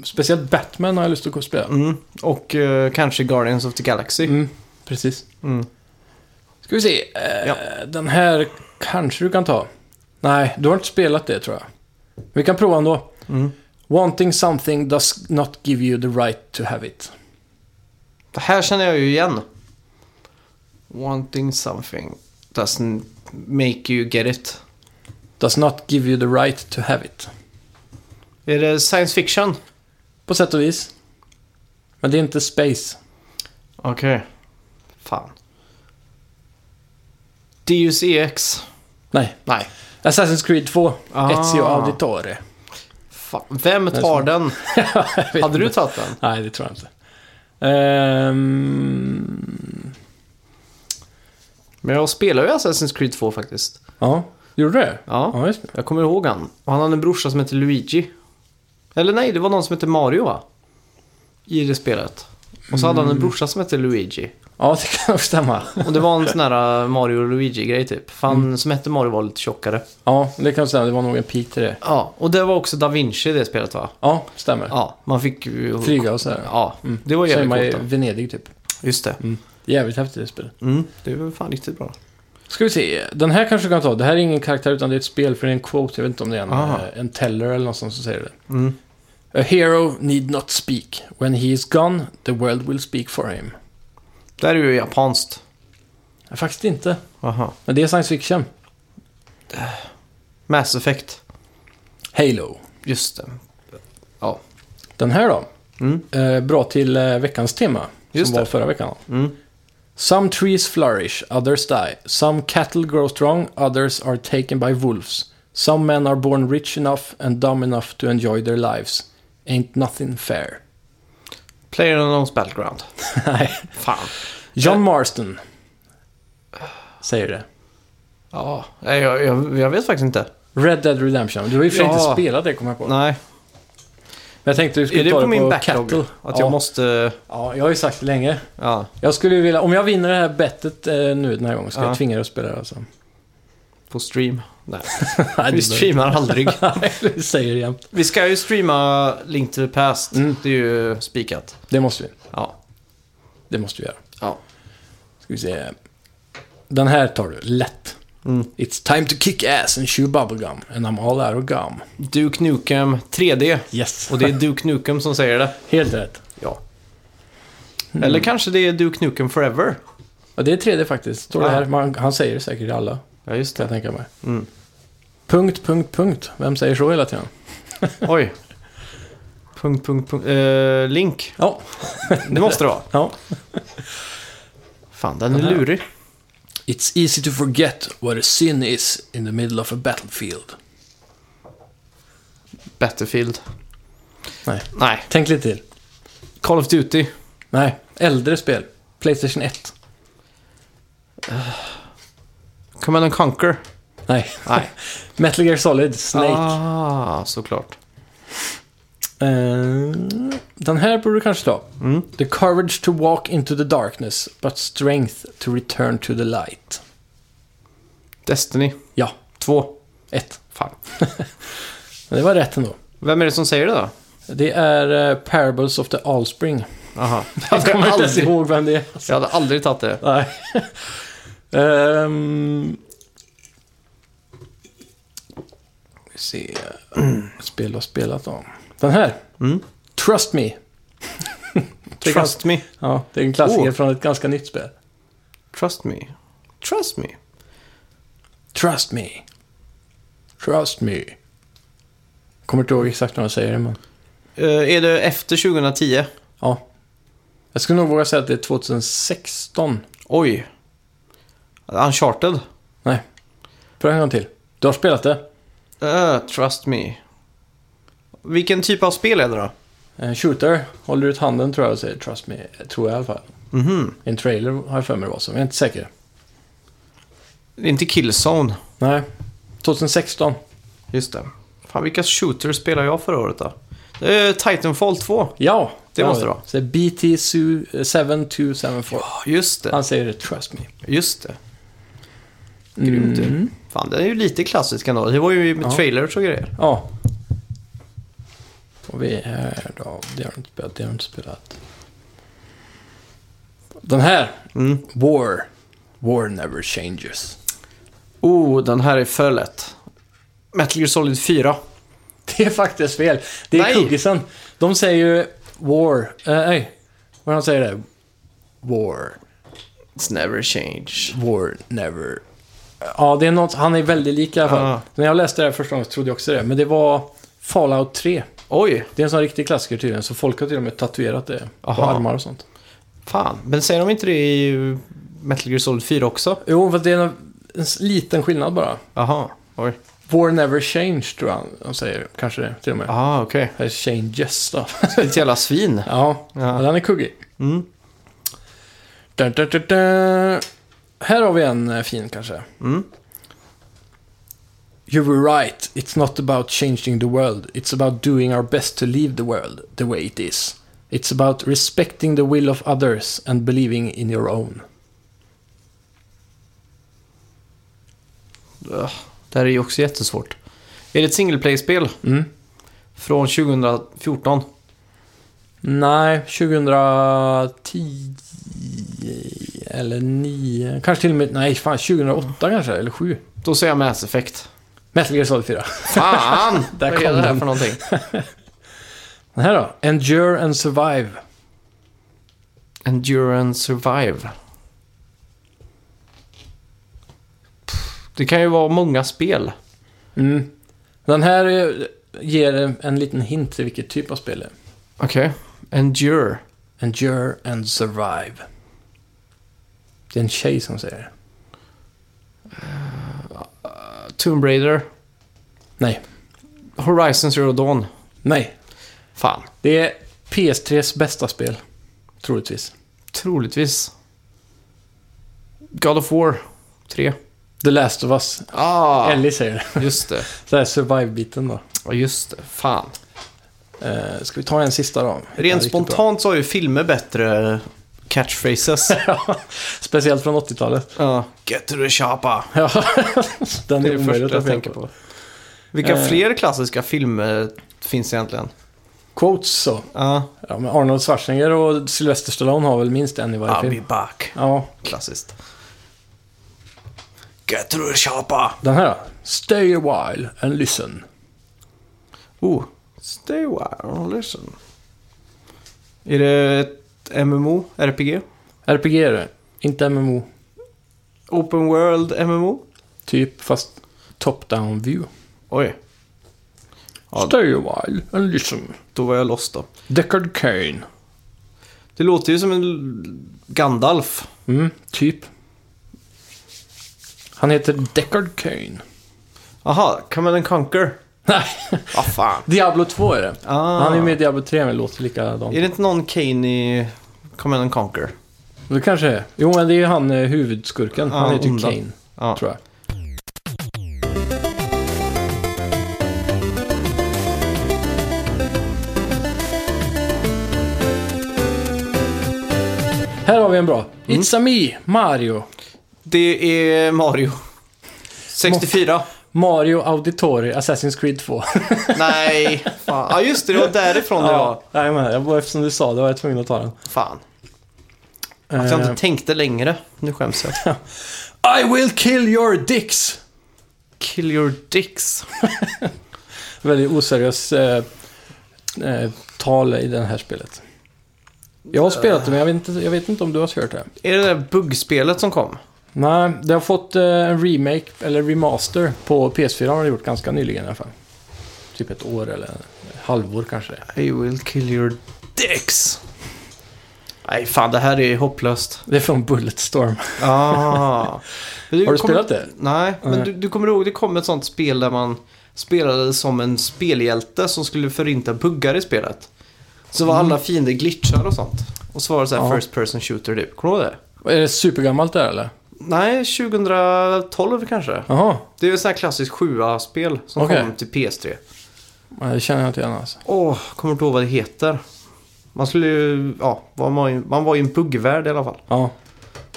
Speaker 2: Speciellt Batman har jag lust att gå och spela.
Speaker 3: mm. Och eh, kanske Guardians of the Galaxy.
Speaker 2: Mm, precis.
Speaker 3: Mm.
Speaker 2: Ska vi se. Eh,
Speaker 3: Ja.
Speaker 2: Den här kanske du kan ta. Nej, du har inte spelat det tror jag. Vi kan prova ändå.
Speaker 3: Mm.
Speaker 2: Wanting something does not give you the right to have it.
Speaker 3: Det här känner jag ju igen. Wanting something doesn't make you get it.
Speaker 2: Does not give you the right to have it.
Speaker 3: Är det science fiction?
Speaker 2: På sätt och vis. Men det är inte space.
Speaker 3: Okej. Fan. Deus EX.
Speaker 2: Nej.
Speaker 3: Nej.
Speaker 2: Assassin's Creed 2.
Speaker 3: Ah.
Speaker 2: Ezio Auditore.
Speaker 3: Fan. Vem
Speaker 2: är
Speaker 3: tar den?
Speaker 2: Jag vet
Speaker 3: Hade du
Speaker 2: inte.
Speaker 3: tagit den?
Speaker 2: Nej, det tror jag inte. Ehm,
Speaker 3: Men jag spelar ju Assassin's Creed 2 faktiskt.
Speaker 2: ja, gjorde du det?
Speaker 3: Ja.
Speaker 2: ja just det.
Speaker 3: Jag kommer ihåg han. Och han hade en brorsa som hette Luigi. Eller nej, det var någon som hette Mario va? I det spelet. Och så hade han en brorsa som hette Luigi.
Speaker 2: Ja, det kan nog stämma.
Speaker 3: Och det var en sån här äh, Mario och Luigi-grej typ. För han som hette Mario var lite tjockare.
Speaker 2: Ja, det kan nog stämma. Det var nog en pik till det.
Speaker 3: Ja, och det var också Da Vinci i det spelet va?
Speaker 2: Ja, stämmer.
Speaker 3: Ja, man fick ju...
Speaker 2: Flyga och sådär.
Speaker 3: Ja, det var
Speaker 2: Så är man
Speaker 3: jävligt
Speaker 2: i
Speaker 3: coolt.
Speaker 2: Venedig typ.
Speaker 3: då. Just det.
Speaker 2: Jävligt häftigt det spelet.
Speaker 3: Mm, det var fan riktigt bra.
Speaker 2: Ska vi se. Den här kanske du kan ta. Det här är ingen karaktär utan det är ett spel för det är en quote. Jag vet inte om det är en,
Speaker 3: Aha.
Speaker 2: eh, en teller eller någon som säger det.
Speaker 3: Mm.
Speaker 2: A hero need not speak. When he is gone, the world will speak for him.
Speaker 3: Det här är ju japanskt.
Speaker 2: Faktiskt inte.
Speaker 3: Aha.
Speaker 2: Men det är science fiction.
Speaker 3: Mass Effect.
Speaker 2: Halo.
Speaker 3: Just det. Ja.
Speaker 2: Den här då.
Speaker 3: Mm.
Speaker 2: Eh, bra till eh, veckans tema.
Speaker 3: Just
Speaker 2: som var
Speaker 3: det.
Speaker 2: förra veckan.
Speaker 3: Mm.
Speaker 2: Some trees flourish, others die. Some cattle grow strong, others are taken by wolves. Some men are born rich enough and dumb enough to enjoy their lives. Ain't nothing fair.
Speaker 3: Player Unknowns Battleground.
Speaker 2: Nej.
Speaker 3: Fan.
Speaker 2: John Marston. Säger det.
Speaker 3: Ja, nej, jag, jag, jag vet faktiskt inte.
Speaker 2: Red Dead Redemption. Du har ju för sig
Speaker 3: Ja.
Speaker 2: inte spelat det, kommer jag på. Men
Speaker 3: Nej,
Speaker 2: jag tänkte du skulle
Speaker 3: är det
Speaker 2: ta
Speaker 3: på
Speaker 2: det
Speaker 3: min
Speaker 2: på
Speaker 3: backlog?
Speaker 2: Cattle.
Speaker 3: Att
Speaker 2: ja.
Speaker 3: jag måste...
Speaker 2: Ja, jag har ju sagt det länge.
Speaker 3: Ja.
Speaker 2: Jag skulle ju vilja... Om jag vinner det här bettet eh, nu den här gången, ska
Speaker 3: Ja.
Speaker 2: jag tvinga dig att spela det alltså.
Speaker 3: På stream. Nej,
Speaker 2: Nej,
Speaker 3: vi
Speaker 2: det behöver-
Speaker 3: streamar aldrig.
Speaker 2: Nej, du säger det jämt.
Speaker 3: Vi ska ju streama Link to the Past.
Speaker 2: Mm.
Speaker 3: Det är ju spikat.
Speaker 2: Det måste vi.
Speaker 3: Ja.
Speaker 2: Det måste vi göra.
Speaker 3: ja.
Speaker 2: Ska vi se. Den här tar du lätt.
Speaker 3: Mm.
Speaker 2: It's time to kick ass and chew bubblegum. And I'm all out of gum.
Speaker 3: Duke Nukem 3D.
Speaker 2: Yes.
Speaker 3: Och det är Duke Nukem som säger det.
Speaker 2: Helt rätt.
Speaker 3: Ja. Eller
Speaker 2: Mm.
Speaker 3: kanske det är Duke Nukem Forever.
Speaker 2: Och det är 3D faktiskt. Står det
Speaker 3: Ja.
Speaker 2: här. Man, han säger det säkert i alla,
Speaker 3: Ja, just
Speaker 2: kan jag tänka mig.
Speaker 3: Mm.
Speaker 2: Punkt, punkt, punkt. Vem säger så hela tiden?
Speaker 3: Oj. Punkt, punkt, punkt. Eh, link.
Speaker 2: Ja.
Speaker 3: Det måste det vara.
Speaker 2: ja.
Speaker 3: Fan, den är lurig.
Speaker 2: It's easy to forget what a sin is in the middle of a battlefield.
Speaker 3: Battlefield.
Speaker 2: Nej.
Speaker 3: Nej.
Speaker 2: Tänk lite till.
Speaker 3: Call of Duty.
Speaker 2: Nej. Äldre spel. Playstation 1.
Speaker 3: Command and Conquer.
Speaker 2: Nej.
Speaker 3: Nej.
Speaker 2: Metal Gear Solid. Snake.
Speaker 3: Ah, såklart.
Speaker 2: Eh, den här borde du kanske ta. The courage to walk into the darkness, but strength to return to the light.
Speaker 3: Destiny
Speaker 2: Ja,
Speaker 3: 2.
Speaker 2: ett.
Speaker 3: Fan.
Speaker 2: Men det var rätt ändå.
Speaker 3: Vem är det som säger det då?
Speaker 2: Det är eh, Parables of the Allspring.
Speaker 3: Aha.
Speaker 2: Jag kommer inte ens
Speaker 3: aldrig-
Speaker 2: ihåg vem det är.
Speaker 3: Jag hade aldrig tagit det.
Speaker 2: Nej. Ehm. Vi se. Spel och spelat om. Den här.
Speaker 3: Mm.
Speaker 2: Trust me. Det är
Speaker 3: Trust me.
Speaker 2: Ja, det är en klassiker
Speaker 3: Oh.
Speaker 2: från ett ganska nytt spel.
Speaker 3: Trust me. Trust me.
Speaker 2: Trust me. Trust me. Kommer inte ihåg exakt vad han säger, men...
Speaker 3: Eh, är det efter 2010?
Speaker 2: Ja. Jag skulle nog våga säga att det är 2016.
Speaker 3: Oj. Uncharted.
Speaker 2: Nej. Pröva en gång till. Du har spelat det.
Speaker 3: Eh, trust me. Vilken typ av spel är det då?
Speaker 2: Eh, En shooter. Håller ut handen tror jag och säger trust me. Tror jag i alla fall.
Speaker 3: Mhm.
Speaker 2: En trailer har jag för mig det var så, men jag är inte säker.
Speaker 3: Det är inte Killzone.
Speaker 2: Nej, 2016.
Speaker 3: Just det. Fan, vilka shooters spelade jag förra året då? Det är Titanfall 2.
Speaker 2: Ja,
Speaker 3: Det
Speaker 2: där
Speaker 3: måste
Speaker 2: har
Speaker 3: det vara.
Speaker 2: vi Så BT Su- 7274.
Speaker 3: Ja, just det.
Speaker 2: Han säger det, trust me.
Speaker 3: Just det. Grymt ju.
Speaker 2: Mm.
Speaker 3: Fan, det är ju lite klassiskt ändå. Det var ju med
Speaker 2: Ja.
Speaker 3: trailers och grejer.
Speaker 2: Ja. Och vi är här då. Det har du inte spelat, det har du inte spelat. Den här.
Speaker 3: Mm.
Speaker 2: War. War never changes.
Speaker 3: Oh, den här är för lätt. Metal Gear Solid 4.
Speaker 2: Det är faktiskt fel. Det är
Speaker 3: Nej.
Speaker 2: kuggisen. De säger ju War. Eh, nej, vad de säger det? War.
Speaker 3: It's never change.
Speaker 2: War never. Ja, det är något, han är väldigt lik i alla fall.
Speaker 3: Ja.
Speaker 2: När jag läste det här första gången så trodde jag också det. Men det var Fallout 3.
Speaker 3: Oj,
Speaker 2: Det är en sån riktig klassiker tydligen, så folk har till och med tatuerat det på
Speaker 3: Aha.
Speaker 2: armar och sånt.
Speaker 3: fan. Men säger de inte det i Metal Gear Solid 4 också?
Speaker 2: Jo, för det är en, en s- liten skillnad bara.
Speaker 3: Jaha, oj.
Speaker 2: War never change tror jag de säger, kanske det till och med.
Speaker 3: Jaha, okej.
Speaker 2: Eller changes då.
Speaker 3: Ett jävla svin.
Speaker 2: ja,
Speaker 3: Ja.
Speaker 2: den är kuggig.
Speaker 3: Mm.
Speaker 2: Dun, dun, dun, dun. Här har vi en eh, fin kanske.
Speaker 3: Mm.
Speaker 2: You were right, it's not about changing the world. It's about doing our best to leave the world the way it is. It's about respecting the will of others and believing in your own.
Speaker 3: Ugh, Det här är ju också jättesvårt. Är det ett single play-spel
Speaker 2: Mm.
Speaker 3: från 2014?
Speaker 2: Nej, 2010 eller 9. Kanske till och med, nej fan 2008 kanske, eller 7.
Speaker 3: Då säger jag Mass Effect.
Speaker 2: Metal Gear Solid 4.
Speaker 3: Fan!
Speaker 2: Där
Speaker 3: Vad är
Speaker 2: kom
Speaker 3: det här
Speaker 2: den.
Speaker 3: för någonting?
Speaker 2: Den här då? Endure and Survive.
Speaker 3: Endurance Survive. Pff, Det kan ju vara många spel.
Speaker 2: Mm. Den här eh, ger en- en liten hint till vilket typ av spel det är.
Speaker 3: Okej. Endure.
Speaker 2: Endure and Survive. Det är en tjej som säger det.
Speaker 3: Tomb Raider.
Speaker 2: Nej,
Speaker 3: Horizon Zero Dawn.
Speaker 2: nej.
Speaker 3: Fan.
Speaker 2: Det är PS3s bästa spel. Troligtvis.
Speaker 3: Troligtvis. God of War 3.
Speaker 2: The Last of Us.
Speaker 3: Ah,
Speaker 2: Ellie säger det.
Speaker 3: just det.
Speaker 2: Så här survive-biten då.
Speaker 3: Ja, just det. Fan.
Speaker 2: Eh, ska vi ta en sista då? Hitta
Speaker 3: Rent
Speaker 2: riktigt bra.
Speaker 3: spontant så har ju filmer bättre catchphrases.
Speaker 2: Speciellt från 80-talet.
Speaker 3: Ja. Get to the shoppa.
Speaker 2: Ja, den
Speaker 3: Det är det första
Speaker 2: är omöjligt
Speaker 3: jag
Speaker 2: att
Speaker 3: tänker
Speaker 2: tänka på.
Speaker 3: på. Vilka
Speaker 2: Eh.
Speaker 3: fler klassiska filmer finns egentligen?
Speaker 2: Quotes så.
Speaker 3: Ja.
Speaker 2: Ja, men Arnold Schwarzenegger och Sylvester Stallone har väl minst en i varje
Speaker 3: I'll be
Speaker 2: film.
Speaker 3: back.
Speaker 2: Ja,
Speaker 3: Klassiskt. Get to the shoppa.
Speaker 2: den här då. Stay a while and listen.
Speaker 3: Oh. Stay a while and listen. Är det ett MMO? RPG?
Speaker 2: RPG är det. Inte MMO.
Speaker 3: Open World MMO?
Speaker 2: Typ, fast top-down view.
Speaker 3: Oj, Ja.
Speaker 2: Stay a while and listen.
Speaker 3: då var jag lost då.
Speaker 2: Deckard Cain.
Speaker 3: Det låter ju som en l- Gandalf.
Speaker 2: Mm, typ. Han heter Deckard Cain.
Speaker 3: Aha, Command and Conquer.
Speaker 2: Nej,
Speaker 3: Vad fan.
Speaker 2: Diablo 2 är det.
Speaker 3: Ah.
Speaker 2: Han är med i Diablo 3 men låter likadant.
Speaker 3: Är det inte någon Kane i Command and Conquer?
Speaker 2: Det kanske är. Jo, men det är ju han eh, huvudskurken.
Speaker 3: Ja,
Speaker 2: han heter ju
Speaker 3: Ah, onda.
Speaker 2: Kane,
Speaker 3: Ja.
Speaker 2: tror jag. Här har vi en bra. It's a me, Mario.
Speaker 3: Det är Mario. 64.
Speaker 2: Mario Auditori, Assassin's Creed 2.
Speaker 3: Nej, fan. Ja, just det. Det var därifrån det var.
Speaker 2: nej, men jag var eftersom du sa det var jag tvungen att ta den.
Speaker 3: Fan. Att jag
Speaker 2: Eh,
Speaker 3: inte tänkte längre. Nu skäms jag.
Speaker 2: I will kill your dicks!
Speaker 3: Kill your dicks.
Speaker 2: Väldigt oseriös eh, eh, tal i det här spelet. Jag har spelat det, men jag vet inte, jag vet inte om du har kört det.
Speaker 3: Är det det där buggspelet som kom?
Speaker 2: Nej, det har fått eh, en remake, eller remaster, på PS4 har det gjort ganska nyligen i alla fall. Typ ett år eller ett halvår kanske.
Speaker 3: I will kill your dicks. Nej, fan. Det här är hopplöst.
Speaker 2: Det är från Bulletstorm.
Speaker 3: Ah.
Speaker 2: Har du spelat det?
Speaker 3: Nej, men
Speaker 2: Nej.
Speaker 3: du, du kommer ihåg det kom ett sånt spel där man spelade som en Mm. spelhjälte som skulle förinta buggar i spelet. Så var alla fiender glitchar och sånt. Och så var det så här
Speaker 2: Ja.
Speaker 3: First Person Shooter typ. Kommer du ihåg det?
Speaker 2: Är det supergammalt där eller?
Speaker 3: Nej, 2012 kanske.
Speaker 2: Jaha,
Speaker 3: Det är ju ett sånt här klassiskt 7A-spel som
Speaker 2: Okej.
Speaker 3: kom till PS3.
Speaker 2: Nej, det känner jag inte igen alltså.
Speaker 3: Åh, kommer inte ihåg vad det heter. Man skulle ju, ja, man var, ju- man var ju en buggvärld i alla fall.
Speaker 2: Ja.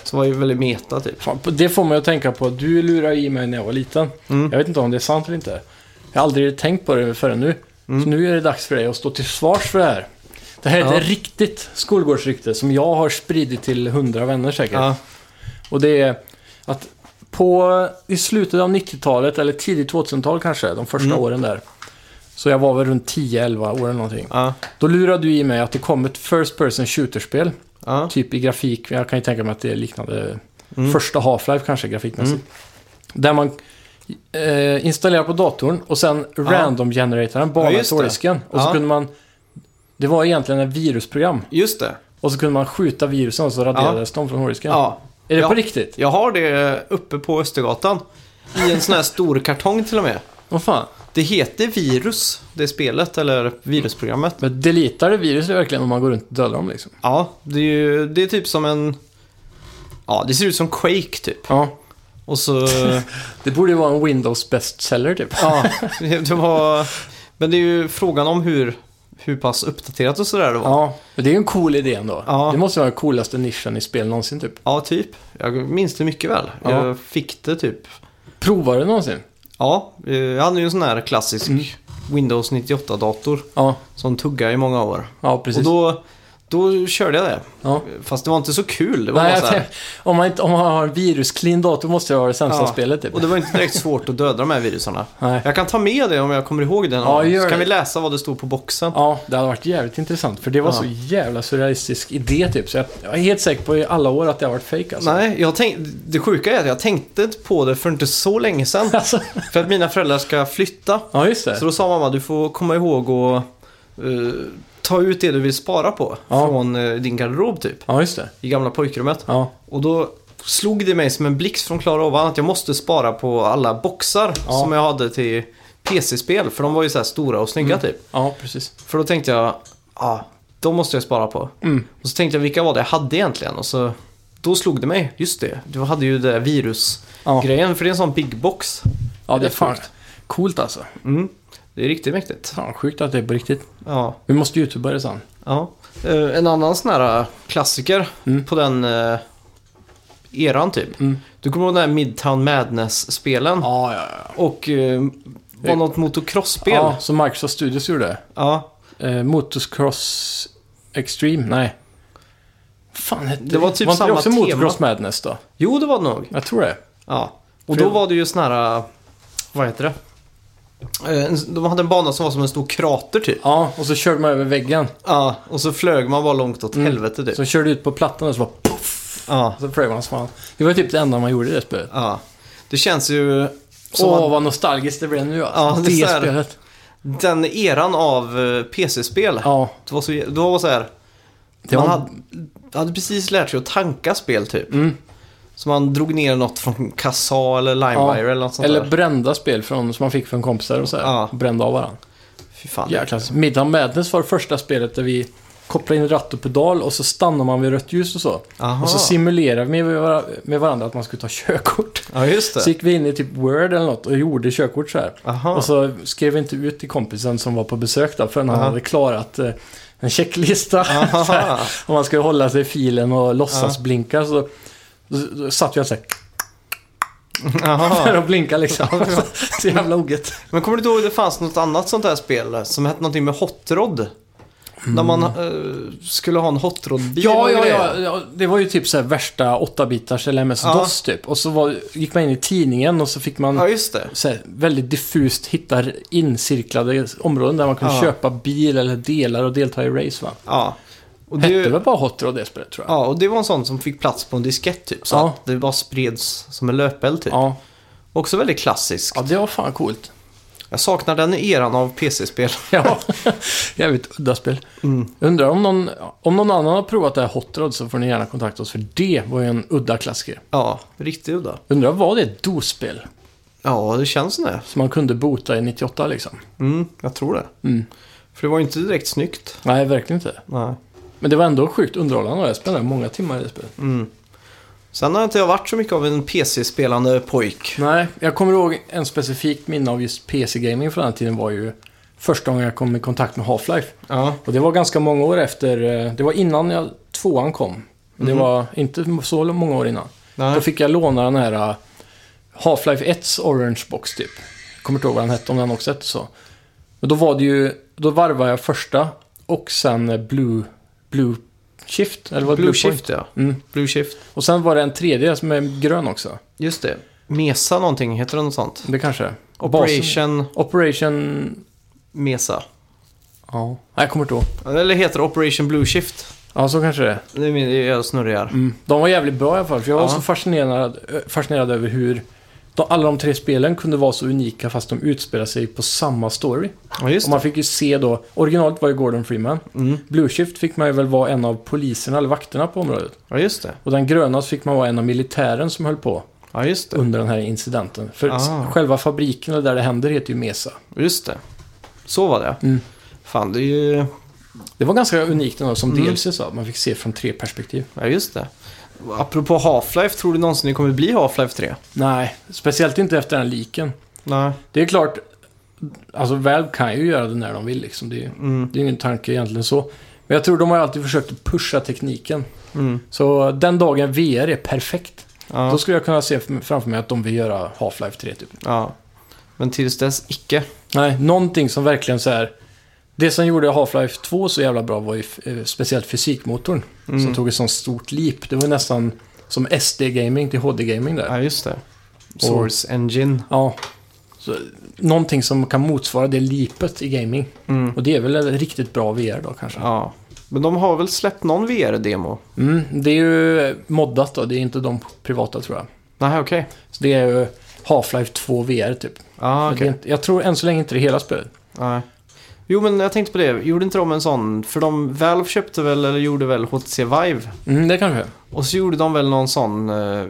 Speaker 3: Som var ju väldigt meta typ.
Speaker 2: Fan, på- det får mig att tänka på att du lurade i mig när jag var liten.
Speaker 3: Mm.
Speaker 2: Jag vet inte om det är sant eller inte. Jag har aldrig tänkt på det förrän nu.
Speaker 3: Mm.
Speaker 2: Så nu är det dags för dig att stå till svars för det här. Det här är
Speaker 3: Ja.
Speaker 2: ett riktigt skolgårdsrykte som jag har spridit till hundra vänner säkert.
Speaker 3: Ja,
Speaker 2: Och det är att på, i slutet av 90-talet, eller tidigt 2000-tal kanske, de
Speaker 3: Mm.
Speaker 2: första åren där. Så jag var väl runt 10-11 år eller någonting.
Speaker 3: ja,
Speaker 2: Då lurade du i mig att det kom ett First Person Shooter-spel.
Speaker 3: ja. Mm.
Speaker 2: Typ i grafik, jag kan ju tänka mig att det är liknande första Half-Life kanske grafikmässigt. Där man eh, installerar på datorn och sen random generatorar en bana
Speaker 3: Ja, just
Speaker 2: efter hårddisken. Och så
Speaker 3: Ja.
Speaker 2: kunde man... Det var egentligen ett virusprogram.
Speaker 3: Just det.
Speaker 2: Och så kunde man skjuta virusen och så raderades de från hårddisken.
Speaker 3: Ja.
Speaker 2: Är det
Speaker 3: Ja.
Speaker 2: på riktigt?
Speaker 3: Jag har det uppe på Östergatan. I en sån här stor kartong till och med.
Speaker 2: Vad fan?
Speaker 3: Det heter Virus, det spelet, eller virusprogrammet.
Speaker 2: Men deletar det virus verkligen om man går runt och dödar dem liksom?
Speaker 3: Ja, det är ju, det är typ som en... Ja, det ser ut som Quake typ.
Speaker 2: Ja.
Speaker 3: Och så...
Speaker 2: Det borde ju vara en Windows bestseller typ.
Speaker 3: Ja, det var... Men det är ju frågan om hur, hur pass uppdaterat och sådär det var. Ja.
Speaker 2: Ja, men det är ju en cool idé ändå.
Speaker 3: Ja.
Speaker 2: Det måste vara den coolaste nischen i spel någonsin typ.
Speaker 3: typ. Jag minns det mycket väl.
Speaker 2: Ja.
Speaker 3: Jag fick det typ. Ja, eh, jag hade ju en sån här klassisk
Speaker 2: Mm.
Speaker 3: Windows 98-dator
Speaker 2: Ja,
Speaker 3: som tuggade i många år.
Speaker 2: ja precis.
Speaker 3: Och då, då körde jag det.
Speaker 2: ja.
Speaker 3: Fast det var inte så kul. Det var
Speaker 2: Nej,
Speaker 3: bara så
Speaker 2: jag
Speaker 3: här...
Speaker 2: tänkte- om, man inte, om man har en virusclean dator måste det vara det sämsta spelet typ.
Speaker 3: Och det var inte direkt svårt att döda de här virusarna.
Speaker 2: Nej.
Speaker 3: Jag kan ta med det om jag kommer ihåg det någon
Speaker 2: Ja,
Speaker 3: gång.
Speaker 2: gör
Speaker 3: Så kan
Speaker 2: det.
Speaker 3: vi läsa vad det stod på boxen.
Speaker 2: Ja, det hade varit jävligt intressant. För det var
Speaker 3: Ja.
Speaker 2: så jävla surrealistisk idé typ. Så jag, jag är helt säker på i alla år att det har varit fake alltså.
Speaker 3: Nej, jag tänk, det sjuka är att jag tänkte inte på det för inte så länge sedan.
Speaker 2: Alltså,
Speaker 3: för att mina föräldrar ska flytta.
Speaker 2: ja, just det.
Speaker 3: Så då sa mamma, du får komma ihåg och eh, ta ut det du vill spara på.
Speaker 2: Ja.
Speaker 3: Från eh, din garderob typ.
Speaker 2: Ja, just det.
Speaker 3: I gamla pojkrummet.
Speaker 2: Ja,
Speaker 3: Och då slog det mig som en blixt från klara ovan att jag måste spara på alla boxar
Speaker 2: Ja.
Speaker 3: som jag hade till PC-spel. För de var ju så här stora och
Speaker 2: Mm.
Speaker 3: snygga typ.
Speaker 2: ja precis.
Speaker 3: För då tänkte jag, ja, de måste jag spara på.
Speaker 2: Mm.
Speaker 3: Och så tänkte jag, vilka var det jag hade egentligen? Och så, då slog det mig, just det, du hade ju det där virusgrejen,
Speaker 2: Ja,
Speaker 3: för det är en sån big box.
Speaker 2: ja det är
Speaker 3: rätt
Speaker 2: fan
Speaker 3: sjukt.
Speaker 2: coolt alltså.
Speaker 3: Mm. Det är riktigt mäktigt.
Speaker 2: Fan, sjukt att det är på riktigt.
Speaker 3: Ja,
Speaker 2: Vi måste youtuba det sen.
Speaker 3: ja. Eh, en annan sån här eh, klassiker
Speaker 2: Mm.
Speaker 3: på den eh, eran typ.
Speaker 2: Mm.
Speaker 3: Du kommer ihåg den här Midtown Madness-spelen?
Speaker 2: Ja, ja, ja.
Speaker 3: Och eh, var
Speaker 2: Det-
Speaker 3: något motocross-spel?
Speaker 2: Ja, som Microsoft Studios gjorde.
Speaker 3: Ja.
Speaker 2: Eh, Motocross Extreme, nej. Fan hette
Speaker 3: Det var typ
Speaker 2: inte det
Speaker 3: samma
Speaker 2: också
Speaker 3: tema.
Speaker 2: Motocross Madness då?
Speaker 3: Jo, det var det nog.
Speaker 2: Jag tror det.
Speaker 3: Ja. Och
Speaker 2: För
Speaker 3: då
Speaker 2: jag-
Speaker 3: var det ju sån här, äh, vad heter det? Eh, en- De hade en bana som var som en stor krater typ.
Speaker 2: Ja, och så körde man över väggen.
Speaker 3: Ja, och så flög man bara långt åt
Speaker 2: Mm.
Speaker 3: helvete typ.
Speaker 2: Så körde ut på plattan och så bara...
Speaker 3: Ja,
Speaker 2: Så flög man som fan. Det var typ det enda man gjorde i det spelet.
Speaker 3: ja. Det känns ju som
Speaker 2: Åh,
Speaker 3: att
Speaker 2: vad nostalgiskt det blev nu
Speaker 3: Ja,
Speaker 2: alltså.
Speaker 3: det
Speaker 2: det
Speaker 3: är så här-
Speaker 2: spelet.
Speaker 3: den eran av eh, PC-spel,
Speaker 2: Ja,
Speaker 3: det var så, det var så här,
Speaker 2: det
Speaker 3: man
Speaker 2: var...
Speaker 3: hade, hade precis lärt sig att tanka spel typ.
Speaker 2: Mm.
Speaker 3: Så man drog ner något från Kassa eller Limewire eller något sånt
Speaker 2: Eller
Speaker 3: där.
Speaker 2: brända spel från, som man fick från kompisar och så här.
Speaker 3: Ja.
Speaker 2: Brända av varandra.
Speaker 3: Fy fan.
Speaker 2: Jäklar. Midnight Madness var det första spelet där vi kopplade in ratt och pedal och så stannar man vid rött ljus och så.
Speaker 3: Aha.
Speaker 2: Och så simulerade vi med, var- med varandra att man skulle ta körkort.
Speaker 3: ja, just
Speaker 2: Så
Speaker 3: det.
Speaker 2: gick vi in i typ Word eller något och gjorde körkort så här.
Speaker 3: Aha.
Speaker 2: Och så skrev vi inte ut till kompisen som var på besök då förrän han
Speaker 3: Aha.
Speaker 2: hade klarat eh, en checklista. så här,
Speaker 3: Aha.
Speaker 2: om man skulle hålla sig i filen och låtsas blinka så, så, så satt jag så här
Speaker 3: Aha.
Speaker 2: och blinkade liksom. så jävla oget.
Speaker 3: Men kommer du inte ihåg att det fanns något annat sånt här spel som hette någonting med Hot Rod? När man eh, skulle ha en Hot Rod-bil
Speaker 2: Mm. Ja,
Speaker 3: och
Speaker 2: ja,
Speaker 3: grejer.
Speaker 2: ja, ja, det var ju typ så här värsta 8-bitars eller MS-DOS typ. Och så var, gick man in i tidningen och så fick man
Speaker 3: Ja, just det.
Speaker 2: så här, väldigt diffust hitta incirklade områden där man kunde
Speaker 3: Ja.
Speaker 2: köpa bil eller delar och delta i race va?
Speaker 3: Ja. Och
Speaker 2: Hette
Speaker 3: det,
Speaker 2: väl bara Hot Rod det spelet tror jag?
Speaker 3: ja, och det var en sån som fick plats på en diskett typ. Så
Speaker 2: Ja.
Speaker 3: att det bara spreds som en löpeld typ.
Speaker 2: Ja.
Speaker 3: Också väldigt klassisk.
Speaker 2: ja, det var fan coolt.
Speaker 3: Jag saknar den eran av PC-spel.
Speaker 2: Ja, jävligt udda spel.
Speaker 3: Mm.
Speaker 2: Jag undrar om någon, om någon annan har provat det här Hot Rod så får ni gärna kontakta oss för det var ju en udda klassiker.
Speaker 3: Ja, riktigt udda.
Speaker 2: Undrar var det ett DOS-spel
Speaker 3: Ja, det känns som det.
Speaker 2: som man kunde bota i 98 liksom?
Speaker 3: Mm, jag tror det.
Speaker 2: Mm.
Speaker 3: För det var ju inte direkt snyggt.
Speaker 2: Nej, verkligen inte.
Speaker 3: Nej.
Speaker 2: Men det var ändå sjukt underhållande och jag spelade många timmar i det spelet.
Speaker 3: Mm. Sen har inte jag varit så mycket av en PC-spelande pojk.
Speaker 2: Nej, jag kommer ihåg en specifik minne av just PC-gaming från den här tiden var ju första gången jag kom i kontakt med Half-Life.
Speaker 3: Ja.
Speaker 2: Och det var ganska många år efter, eh, det var innan jag, tvåan kom. Men Det
Speaker 3: Mhm.
Speaker 2: var inte så många år innan. Då
Speaker 3: Nej.
Speaker 2: fick jag låna den här eh, Half-Life 1s Orange Box typ. Jag kommer inte ihåg vad den hette, om den också hette så. Men då var det ju, då varvade jag första och sen eh, Blue, Blue Shift, eller vad
Speaker 3: Blue,
Speaker 2: Point?
Speaker 3: Shift, ja.
Speaker 2: Mm.
Speaker 3: Blue Shift.
Speaker 2: Och sen var det en tredje som är grön också.
Speaker 3: Just det. Mesa någonting, heter det något sånt?
Speaker 2: Det kanske är. Basen-
Speaker 3: Operation
Speaker 2: Operation...
Speaker 3: Mesa.
Speaker 2: Ja. Nej, jag kommer inte ihåg.
Speaker 3: Eller heter det Operation Blue Shift?
Speaker 2: Ja, så kanske det är.
Speaker 3: Nu är jag snurrig här.
Speaker 2: Mm. De var jävligt bra i alla fall. För jag var
Speaker 3: Ja.
Speaker 2: så fascinerad, ö, fascinerad över hur de, alla de tre spelen kunde vara så unika fast de utspelar sig på samma story.
Speaker 3: Ja, just
Speaker 2: Och man fick ju se då, originalet var ju Gordon Freeman.
Speaker 3: det. Mm.
Speaker 2: Blue Shift fick man ju väl vara en av poliserna eller vakterna på området.
Speaker 3: Ja, just det.
Speaker 2: Och den gröna så fick man vara en av militären som höll på
Speaker 3: Ja, just det.
Speaker 2: under den här incidenten. För
Speaker 3: Ah.
Speaker 2: s- själva fabriken och där det händer heter ju Mesa.
Speaker 3: Just det. Så var det.
Speaker 2: Mm.
Speaker 3: Fan, det är ju...
Speaker 2: Det var ganska unikt ändå som
Speaker 3: Mm.
Speaker 2: DLC så att man fick se från tre perspektiv.
Speaker 3: Ja, just det. Apropå Half-Life, tror du någonsin det kommer bli Half-Life 3?
Speaker 2: Nej, speciellt inte efter den liken.
Speaker 3: Nej.
Speaker 2: Det är klart, alltså Valve kan ju göra det när de vill liksom. Det är, ju-
Speaker 3: Mm.
Speaker 2: det är ingen tanke egentligen så. Men jag tror de har alltid försökt att pusha tekniken.
Speaker 3: Mm.
Speaker 2: Så den dagen VR är perfekt, då
Speaker 3: Ja.
Speaker 2: skulle jag kunna se fram- framför mig att de vill göra Half-Life 3 typ.
Speaker 3: ja. Men tills dess, icke.
Speaker 2: Nej, någonting som verkligen så här. Det som gjorde Half-Life 2 så jävla bra var ju eh, speciellt fysikmotorn. Som
Speaker 3: Mm.
Speaker 2: tog ett sånt stort leap. Det var nästan som SD-gaming till HD-gaming där.
Speaker 3: Ja, just det. Source Engine.
Speaker 2: Ja. Så, någonting som kan motsvara det lipet i gaming.
Speaker 3: Mm.
Speaker 2: Och det är väl en riktigt bra VR då kanske.
Speaker 3: Ja. Men de har väl släppt någon VR-demo?
Speaker 2: Mm, det är ju moddat då, det är inte de privata tror jag.
Speaker 3: Nej, okej.
Speaker 2: Så det är ju Half-Life 2 VR typ.
Speaker 3: Ja,
Speaker 2: Men det är
Speaker 3: okej.
Speaker 2: inte- Jag tror än så länge inte det är hela spelet.
Speaker 3: Nej. Jo, men jag tänkte på det. Gjorde inte de en sån? För de, Valve köpte väl, eller gjorde väl, HTC Vive?
Speaker 2: Mm, det kanske.
Speaker 3: Och så gjorde de väl någon sån eh,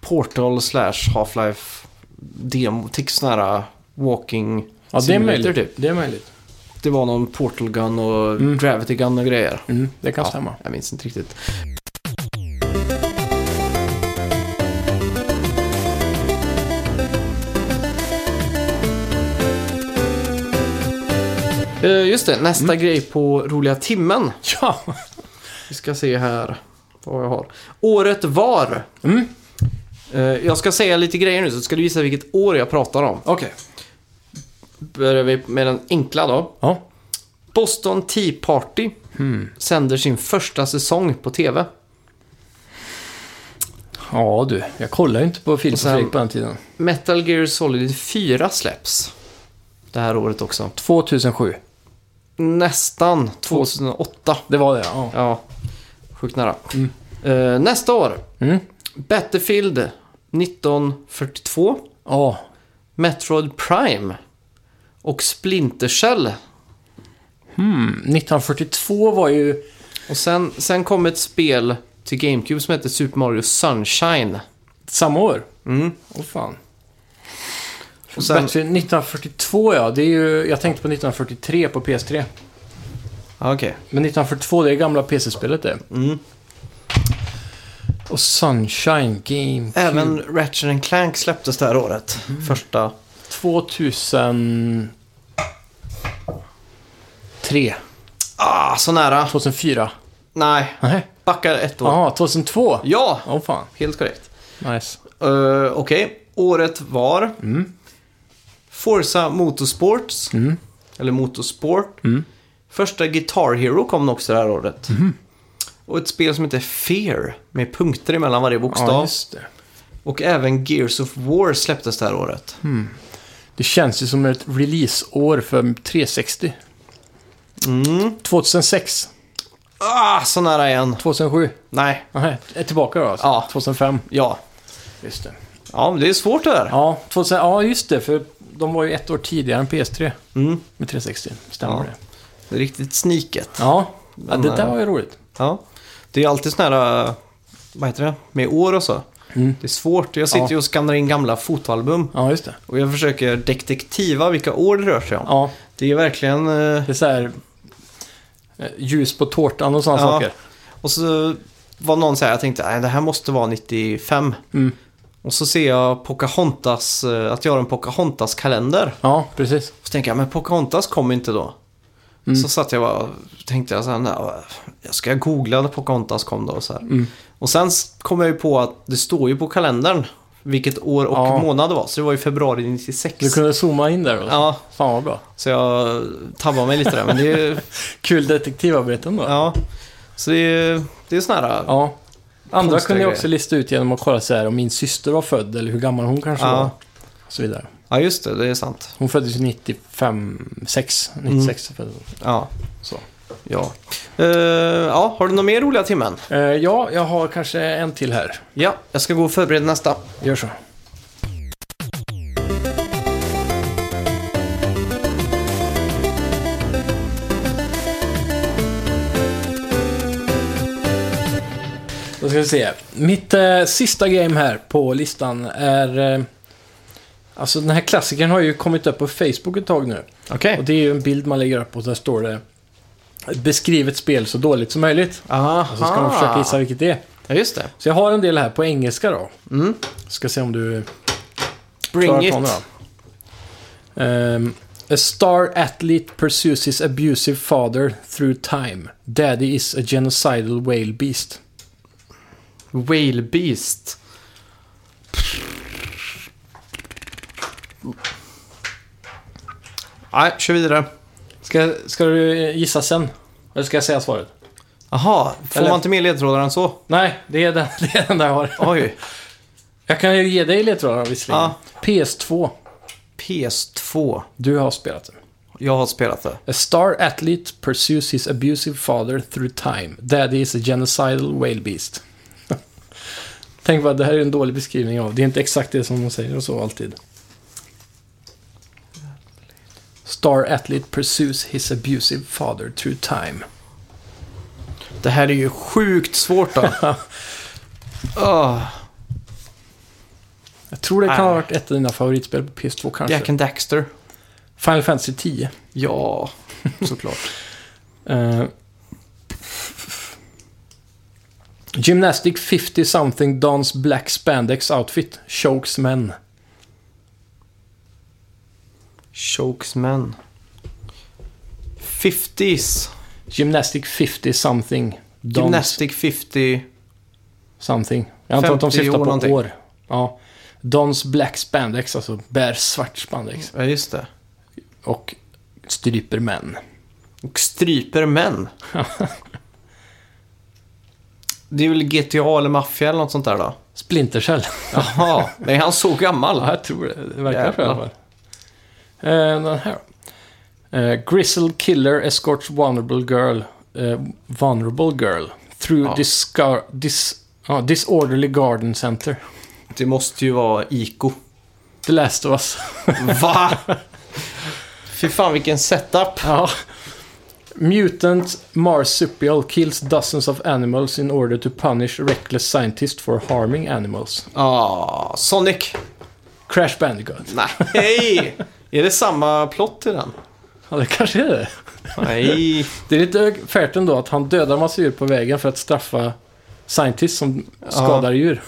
Speaker 3: Portal slash Half-Life demo, till sån här eh, walking.
Speaker 2: Ja, det är
Speaker 3: Simulator,
Speaker 2: möjligt.
Speaker 3: typ.
Speaker 2: Det är möjligt.
Speaker 3: Det var någon Portal Gun och
Speaker 2: Mm.
Speaker 3: Gravity Gun och grejer.
Speaker 2: Mm, det kan
Speaker 3: Ja.
Speaker 2: stämma.
Speaker 3: Jag minns inte riktigt. Eh, Just det, nästa
Speaker 2: Mm.
Speaker 3: grej på roliga timmen.
Speaker 2: Ja,
Speaker 3: Vi ska se här vad jag har. Året var.
Speaker 2: Mm.
Speaker 3: Eh, Jag ska säga lite grejer nu så ska du gissa vilket år jag pratar om.
Speaker 2: okej.
Speaker 3: Börjar vi med den enkla då.
Speaker 2: Ja.
Speaker 3: Boston Tea Party sänder sin första säsong på TV.
Speaker 2: ja, du. Jag kollar ju inte på film
Speaker 3: Och sen-
Speaker 2: på den tiden.
Speaker 3: Metal Gear Solid 4 släpps. Det här året också.
Speaker 2: 2007.
Speaker 3: Nästan 2008.
Speaker 2: Det var det, ja.
Speaker 3: Ja, sjukt nära. Eh, nästa år.
Speaker 2: Mm.
Speaker 3: Battlefield 1942.
Speaker 2: Ja,
Speaker 3: Metroid Prime och Splinter Cell.
Speaker 2: mm, 1942 var ju...
Speaker 3: Och sen, sen kom ett spel till GameCube som heter Super Mario Sunshine.
Speaker 2: Samma år?
Speaker 3: Mm.
Speaker 2: Åh fan.
Speaker 3: Och sen,
Speaker 2: Battlefield 1942 ja, det är ju... Jag tänkte på 1943 på PS3.
Speaker 3: ah, okej.
Speaker 2: Men 1942, det är gamla PC-spelet det.
Speaker 3: Mm.
Speaker 2: Och Sunshine Game
Speaker 3: Även Ratchet and Clank släpptes det här året.
Speaker 2: Mm.
Speaker 3: Första.
Speaker 2: 2003.
Speaker 3: Ah, så nära.
Speaker 2: 2004.
Speaker 3: Nej,
Speaker 2: Nej.
Speaker 3: backar ett år.
Speaker 2: Jaha, 2002.
Speaker 3: Ja,
Speaker 2: Åh fan.
Speaker 3: helt korrekt.
Speaker 2: Nice.
Speaker 3: Eh, okej, året var...
Speaker 2: Mm.
Speaker 3: Forza Motorsports. Eller Motorsport.
Speaker 2: Mm.
Speaker 3: Första Guitar Hero kom också det här året.
Speaker 2: Mhm.
Speaker 3: Och ett spel som heter Fear. Med punkter emellan varje
Speaker 2: Ja,
Speaker 3: bokstav.
Speaker 2: just det.
Speaker 3: och även Gears of War släpptes det här året.
Speaker 2: Mm. Det känns ju som ett releaseår för 360.
Speaker 3: Mm.
Speaker 2: 2006.
Speaker 3: Ah, så nära igen.
Speaker 2: 2007.
Speaker 3: Nej,
Speaker 2: Nej, är tillbaka då alltså.
Speaker 3: Ja.
Speaker 2: 2005.
Speaker 3: ja.
Speaker 2: Just det.
Speaker 3: Ja, men det är svårt det där.
Speaker 2: Ja, 2000, ja, just det. För de var ju ett år tidigare än PS3
Speaker 3: Mm.
Speaker 2: med 360. Stämmer
Speaker 3: Ja.
Speaker 2: det?
Speaker 3: Det är riktigt sniket.
Speaker 2: Ja. ja, det där
Speaker 3: eh,
Speaker 2: var ju roligt.
Speaker 3: Ja. Det är alltid sån här, eh, vad heter det, med år och så.
Speaker 2: Mm.
Speaker 3: Det är svårt. Jag sitter
Speaker 2: Ja.
Speaker 3: ju och skannar in gamla fotoalbum
Speaker 2: Ja, just det.
Speaker 3: och jag försöker detektiva vilka år det rör sig om.
Speaker 2: Ja,
Speaker 3: Det är verkligen... eh,
Speaker 2: det är så här... eh, ljus på tårtan och sådana
Speaker 3: Ja.
Speaker 2: saker.
Speaker 3: Och så var någon så här, jag tänkte nej det här måste vara 95.
Speaker 2: Mm.
Speaker 3: Och så ser jag Pocahontas, eh, att jag har en Pocahontas-kalender.
Speaker 2: Ja, precis.
Speaker 3: Så tänker jag, men Pocahontas kom inte då.
Speaker 2: Mm.
Speaker 3: Så satt jag bara, tänkte jag så här, nej, jag ska googla när Pocahontas kom då. och Så här.
Speaker 2: Mm.
Speaker 3: Och sen s- kom jag ju på att det står ju på kalendern vilket år och
Speaker 2: Ja.
Speaker 3: månad det var. Så det var ju februari 96.
Speaker 2: Du kunde zooma in där. Och
Speaker 3: Ja,
Speaker 2: Fan vad bra.
Speaker 3: så jag tabbade mig lite där. Men det är,
Speaker 2: Kul detektivarbete ändå. Ja.
Speaker 3: ja. Så det är, det är sån här,
Speaker 2: Andra
Speaker 3: Konstiga
Speaker 2: kunde jag
Speaker 3: grejer.
Speaker 2: också lista ut genom att kolla så här om min syster var född eller hur gammal hon kanske
Speaker 3: Ja.
Speaker 2: var. Och så vidare.
Speaker 3: ja just det, det är sant.
Speaker 2: Hon föddes ju 95, 6, 96 föddes hon.
Speaker 3: Ja.
Speaker 2: Så.
Speaker 3: Ja. Eh, ja, har du något mer roliga timmen?
Speaker 2: Eh, ja, jag har kanske en till här.
Speaker 3: Ja, jag ska gå och förbereda nästa.
Speaker 2: Gör så. Då ska vi se. Mitt eh, sista game här på listan är... Eh, alltså den här klassikern har ju kommit upp på Facebook ett tag nu.
Speaker 3: Okej.
Speaker 2: Och det är ju en bild man lägger upp och där står det Beskriv ett spel så dåligt som möjligt.
Speaker 3: Aha.
Speaker 2: Och så ska man försöka gissa vilket det är.
Speaker 3: Ja, just det.
Speaker 2: Så jag har en del här på engelska då.
Speaker 3: Mm.
Speaker 2: Ska se om du
Speaker 3: Bring
Speaker 2: Klarar
Speaker 3: it.
Speaker 2: Tony då. Ehm, a star athlete pursues his abusive father through time. Daddy is a genocidal whale beast.
Speaker 3: Whale Beast. Nej, kör vidare.
Speaker 2: Ska, ska du gissa sen? Eller ska jag säga svaret?
Speaker 3: Aha, får
Speaker 2: Eller-
Speaker 3: man inte med ledtrådar än så?
Speaker 2: Nej, det är den, det är den där jag har.
Speaker 3: Oj.
Speaker 2: Jag kan ju ge dig ledtrådar visserligen.
Speaker 3: Ja.
Speaker 2: PS2.
Speaker 3: PS2.
Speaker 2: Du har spelat det.
Speaker 3: Jag har spelat det.
Speaker 2: A star athlete pursues his abusive father through time. Daddy is a genocidal whale beast. Tänk vad det här är en dålig beskrivning av. Det är inte exakt det som de säger och så alltid. Star athlete pursues his abusive father through time.
Speaker 3: Det här är ju sjukt svårt då. Ah, oh,
Speaker 2: Jag tror det kan ha
Speaker 3: Nej.
Speaker 2: varit ett av dina favoritspel på PS2 kanske.
Speaker 3: Jack and Daxter.
Speaker 2: Final Fantasy 10.
Speaker 3: Ja, såklart.
Speaker 2: Eh, Gymnastic 50 something dons black spandex outfit. Chokes men.
Speaker 3: Chokes Men. 50s.
Speaker 2: Gymnastic 50 something. Dons
Speaker 3: Gymnastic 50.
Speaker 2: something. Jag antar att de
Speaker 3: 50
Speaker 2: syftar
Speaker 3: år
Speaker 2: på
Speaker 3: någonting.
Speaker 2: år. Ja. Dons black spandex, alltså bär svart spandex.
Speaker 3: Ja, just det.
Speaker 2: Och stryper män.
Speaker 3: Och stryper män. det är väl GTA eller Mafia eller något sånt där då?
Speaker 2: Splinter Cell.
Speaker 3: Jaha, nej han så gammal.
Speaker 2: Ja, jag tror det. Det verkar så i alla
Speaker 3: Jävlar.
Speaker 2: fall. Eh, den här uh, Grizzle Killer escorts vulnerable girl, eh, vulnerable girl through
Speaker 3: Ja.
Speaker 2: discar- dis- ja, disorderly garden center.
Speaker 3: Det måste ju vara Iko.
Speaker 2: The last of us.
Speaker 3: Va? Fy fan vilken setup.
Speaker 2: Ja. Mutant marsupial kills dozens of animals in order to punish reckless scientists for harming animals.
Speaker 3: Ah, Sonic.
Speaker 2: Crash Bandicoot.
Speaker 3: Nej! är det samma plott i den?
Speaker 2: Ja, det kanske är det.
Speaker 3: Nej.
Speaker 2: Det är lite färt ändå att han dödar massa djur på vägen för att straffa scientists som skadar djur.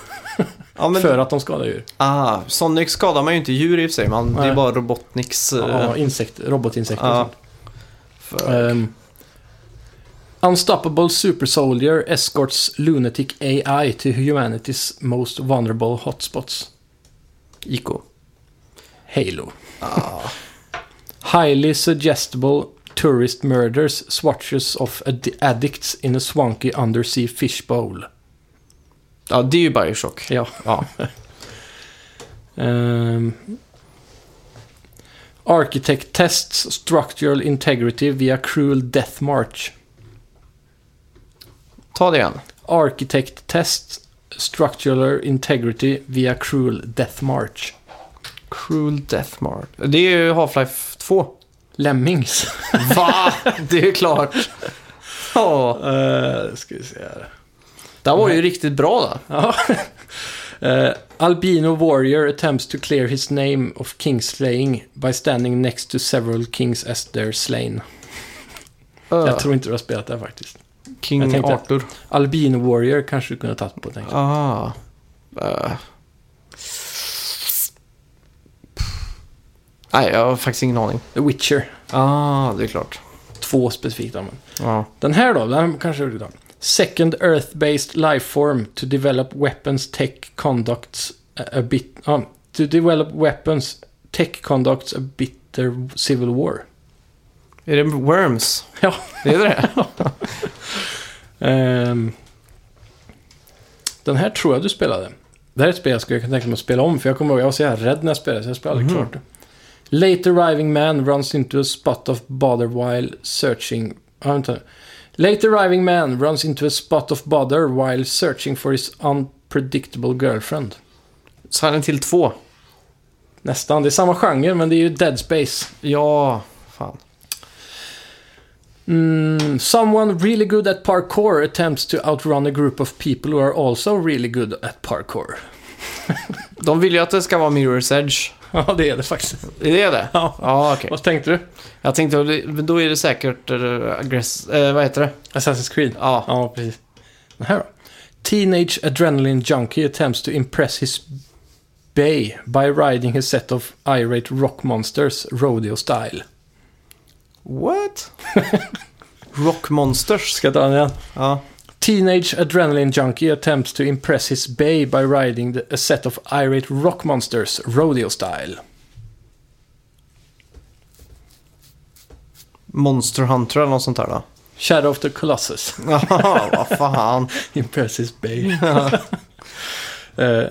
Speaker 3: Ja, men,
Speaker 2: För att de skadar djur.
Speaker 3: ah, Sonic skadar man ju inte djur i och för sig. Man, det
Speaker 2: Nej.
Speaker 3: är bara Robotniks...
Speaker 2: Ja,
Speaker 3: eh,
Speaker 2: insekt, robotinsekter
Speaker 3: Ja.
Speaker 2: och sånt. Ehm, Unstoppable Super Soldier escorts Lunatic AI to humanity's most vulnerable hotspots.
Speaker 3: Iko.
Speaker 2: Halo. Ah. Highly suggestible tourist murders swatches of ad- addicts in a swanky undersea fish bowl.
Speaker 3: Ja, det är ju Bioshock.
Speaker 2: Ja.
Speaker 3: Ja.
Speaker 2: Ehm. architect tests structural integrity via cruel death march.
Speaker 3: Ta det igen.
Speaker 2: Architect tests structural integrity via cruel death march.
Speaker 3: Cruel Death March. Det är ju Half-Life 2.
Speaker 2: Lemmings.
Speaker 3: Va? Det är ju klart. Ja,
Speaker 2: Uh, ska vi se här.
Speaker 3: den var ju riktigt bra då.
Speaker 2: Eh, albino warrior attempts to clear his name of kingslaying by standing next to several kings as they're slain.
Speaker 3: Ö.
Speaker 2: Jag tror inte du har spelat det här faktiskt.
Speaker 3: King
Speaker 2: jag tänkte-
Speaker 3: Arthur.
Speaker 2: Albino Warrior kanske du kunde ha tagit på, tänkte jag.
Speaker 3: Ah. Eh. Nej, jag har faktiskt ingen aning.
Speaker 2: The Witcher.
Speaker 3: Ah, det är klart.
Speaker 2: Två specifikt. ja, Men.
Speaker 3: Ja.
Speaker 2: Den här då, den här kanske du tar. Second Earth-based lifeform to develop weapons tech conducts a a bit... ja, to develop weapons tech conducts a bitter civil war.
Speaker 3: Är det Worms?
Speaker 2: Ja.
Speaker 3: Det är det
Speaker 2: Ehm, den här tror jag du spelade. Det här är ett spel jag skulle kunna tänka mig att spela om, för jag kommer ihåg jag var så jävla rädd när jag spelade, så jag spelade aldrig
Speaker 3: Mhm.
Speaker 2: klart det. Late arriving man runs into a spot of bother while searching... Ah, vänta. Late arriving man runs into a spot of bother while searching for his unpredictable girlfriend.
Speaker 3: Silent Hill 2.
Speaker 2: Nästan, det är samma genre, men det är ju Dead Space.
Speaker 3: Ja, fan.
Speaker 2: Mm, someone really good at parkour attempts to outrun a group of people who are also really good at parkour.
Speaker 3: De vill ju att det ska vara Mirror's Edge.
Speaker 2: Ja, det är det faktiskt.
Speaker 3: Är det det?
Speaker 2: Ja.
Speaker 3: Ja, okej.
Speaker 2: Vad tänkte du?
Speaker 3: Jag tänkte, men då är det säkert eh, aggress... eh, vad heter det?
Speaker 2: Assassin's Creed?
Speaker 3: Ja.
Speaker 2: Ja, precis. Den här då. Teenage adrenaline junkie attempts to impress his bay by riding his set of irate rock monsters rodeo style.
Speaker 3: What? Rock Monsters.
Speaker 2: Ska jag ta den igen?
Speaker 3: Ja.
Speaker 2: Teenage adrenaline junkie attempts to impress his bay by riding the, a set of irate rock monsters rodeo style.
Speaker 3: Monster Hunter eller något sånt där då.
Speaker 2: Shadow of the Colossus.
Speaker 3: Jaha, vad fan.
Speaker 2: impress his bay. uh,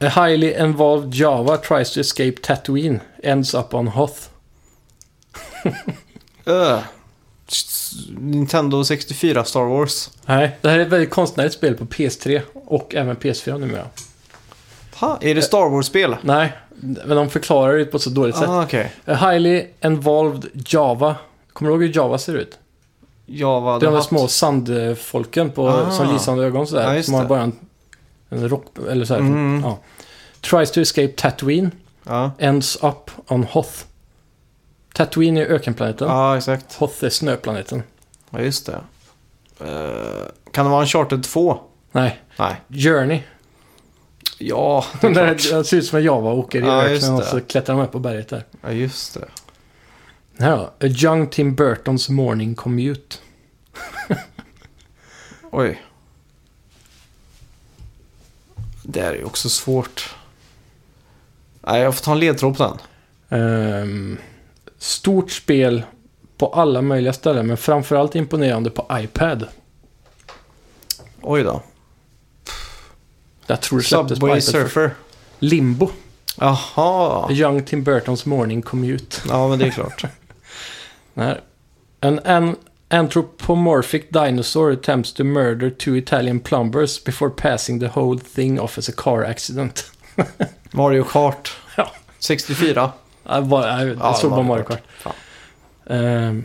Speaker 2: a highly involved Java tries to escape Tatooine, ends up on Hoth.
Speaker 3: Ö. S- Nintendo 64 Star Wars.
Speaker 2: Nej, det här är ett väldigt konstnärligt spel på PS3 och även PS4 numera.
Speaker 3: Ha, är det Star Wars-spel?
Speaker 2: Nej, men de förklarar det på ett så dåligt sätt.
Speaker 3: Ah, okej.
Speaker 2: A highly involved Java. Kommer du ihåg hur Java ser ut?
Speaker 3: Ja, vad
Speaker 2: Det är de där
Speaker 3: haft-
Speaker 2: små sandfolken på,
Speaker 3: Ah.
Speaker 2: som lysande ögon sådär.
Speaker 3: Ja, just
Speaker 2: som har
Speaker 3: det.
Speaker 2: bara en, en rock, eller sådär.
Speaker 3: Mm.
Speaker 2: Ja. Tries to escape Tatooine,
Speaker 3: Ja,
Speaker 2: ends up on Hoth. Tatooine är ökenplaneten.
Speaker 3: ja exakt.
Speaker 2: Hoth är snöplaneten.
Speaker 3: Ja, just det. Eh, kan det vara en Charter 2?
Speaker 2: Nej,
Speaker 3: Nej.
Speaker 2: Journey.
Speaker 3: Ja, det
Speaker 2: Den
Speaker 3: är
Speaker 2: där
Speaker 3: klart.
Speaker 2: den ser ut som en Java och åker i
Speaker 3: Ja, just
Speaker 2: öknen och
Speaker 3: det.
Speaker 2: så klättrar de upp på berget där.
Speaker 3: Ja, just det.
Speaker 2: Den Här då. A Young Tim Burtons Morning Commute.
Speaker 3: Oj. Det här är ju också svårt. Nej, jag får ta en ledtråd på den.
Speaker 2: Ehm, stort spel på alla möjliga ställen, men framförallt imponerande på iPad.
Speaker 3: Oj då.
Speaker 2: Jag tror det släpptes på
Speaker 3: Subway
Speaker 2: iPad först.
Speaker 3: Surfer.
Speaker 2: Limbo.
Speaker 3: Jaha.
Speaker 2: A Young Tim Burtons Morning Commute.
Speaker 3: Ja, men det är klart.
Speaker 2: Nej. An, an anthropomorphic dinosaur attempts to murder two Italian plumbers before passing the whole thing off as a car accident.
Speaker 3: Mario Kart.
Speaker 2: Ja.
Speaker 3: 64.
Speaker 2: Jag bara, jag,
Speaker 3: Ja,
Speaker 2: jag såg bara
Speaker 3: Mario
Speaker 2: Mario
Speaker 3: Kart.
Speaker 2: Kart.
Speaker 3: Fan.
Speaker 2: Ehm,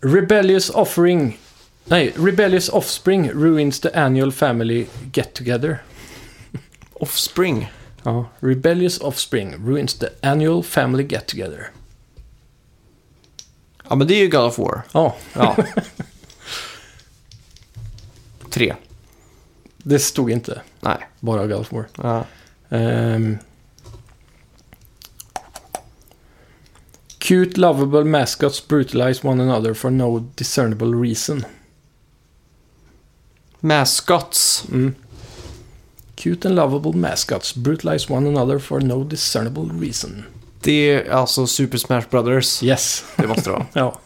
Speaker 2: rebellious offering... Nej, Rebellious Offspring ruins the annual family get together.
Speaker 3: Offspring.
Speaker 2: Ja, Rebellious Offspring ruins the annual family get together.
Speaker 3: Ja, men det är ju God of War.
Speaker 2: Ja,
Speaker 3: Ja. Tre.
Speaker 2: det stod inte.
Speaker 3: Nej.
Speaker 2: Bara God of War.
Speaker 3: Ja.
Speaker 2: Ehm. cute lovable mascots brutalize one another for no discernible reason.
Speaker 3: Mascots.
Speaker 2: Mm. Cute and lovable mascots brutalize one another for no discernible reason.
Speaker 3: Det är alltså Super Smash Brothers.
Speaker 2: Yes.
Speaker 3: Det måste det vara.
Speaker 2: Ja.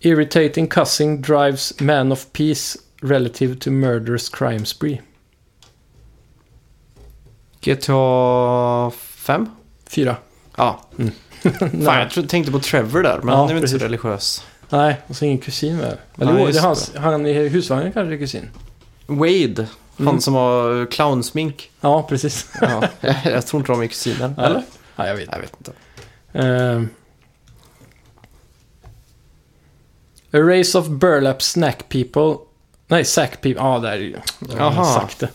Speaker 2: Irritating cussing drives man of peace relative to murderous crime spree.
Speaker 3: GTA 5?
Speaker 2: Fyra.
Speaker 3: Ja. Fan, jag tro- tänkte på Trevor där, men
Speaker 2: Ja,
Speaker 3: han är väl inte så
Speaker 2: precis.
Speaker 3: religiös.
Speaker 2: Nej, och så ingen kusin med. Eller
Speaker 3: Nej,
Speaker 2: jo, det
Speaker 3: just
Speaker 2: är hans, han i husvagnen kanske är kusin.
Speaker 3: Wade, han
Speaker 2: Mm.
Speaker 3: som har clownsmink.
Speaker 2: Ja, precis.
Speaker 3: Ja. jag tror inte de är kusiner, eller?
Speaker 2: Ja, jag vet.
Speaker 3: Jag vet inte.
Speaker 2: Ehm. a race of burlap snack people Nej, Sack People. Ja, där är ju... Jag har
Speaker 3: Jaha.
Speaker 2: sagt det.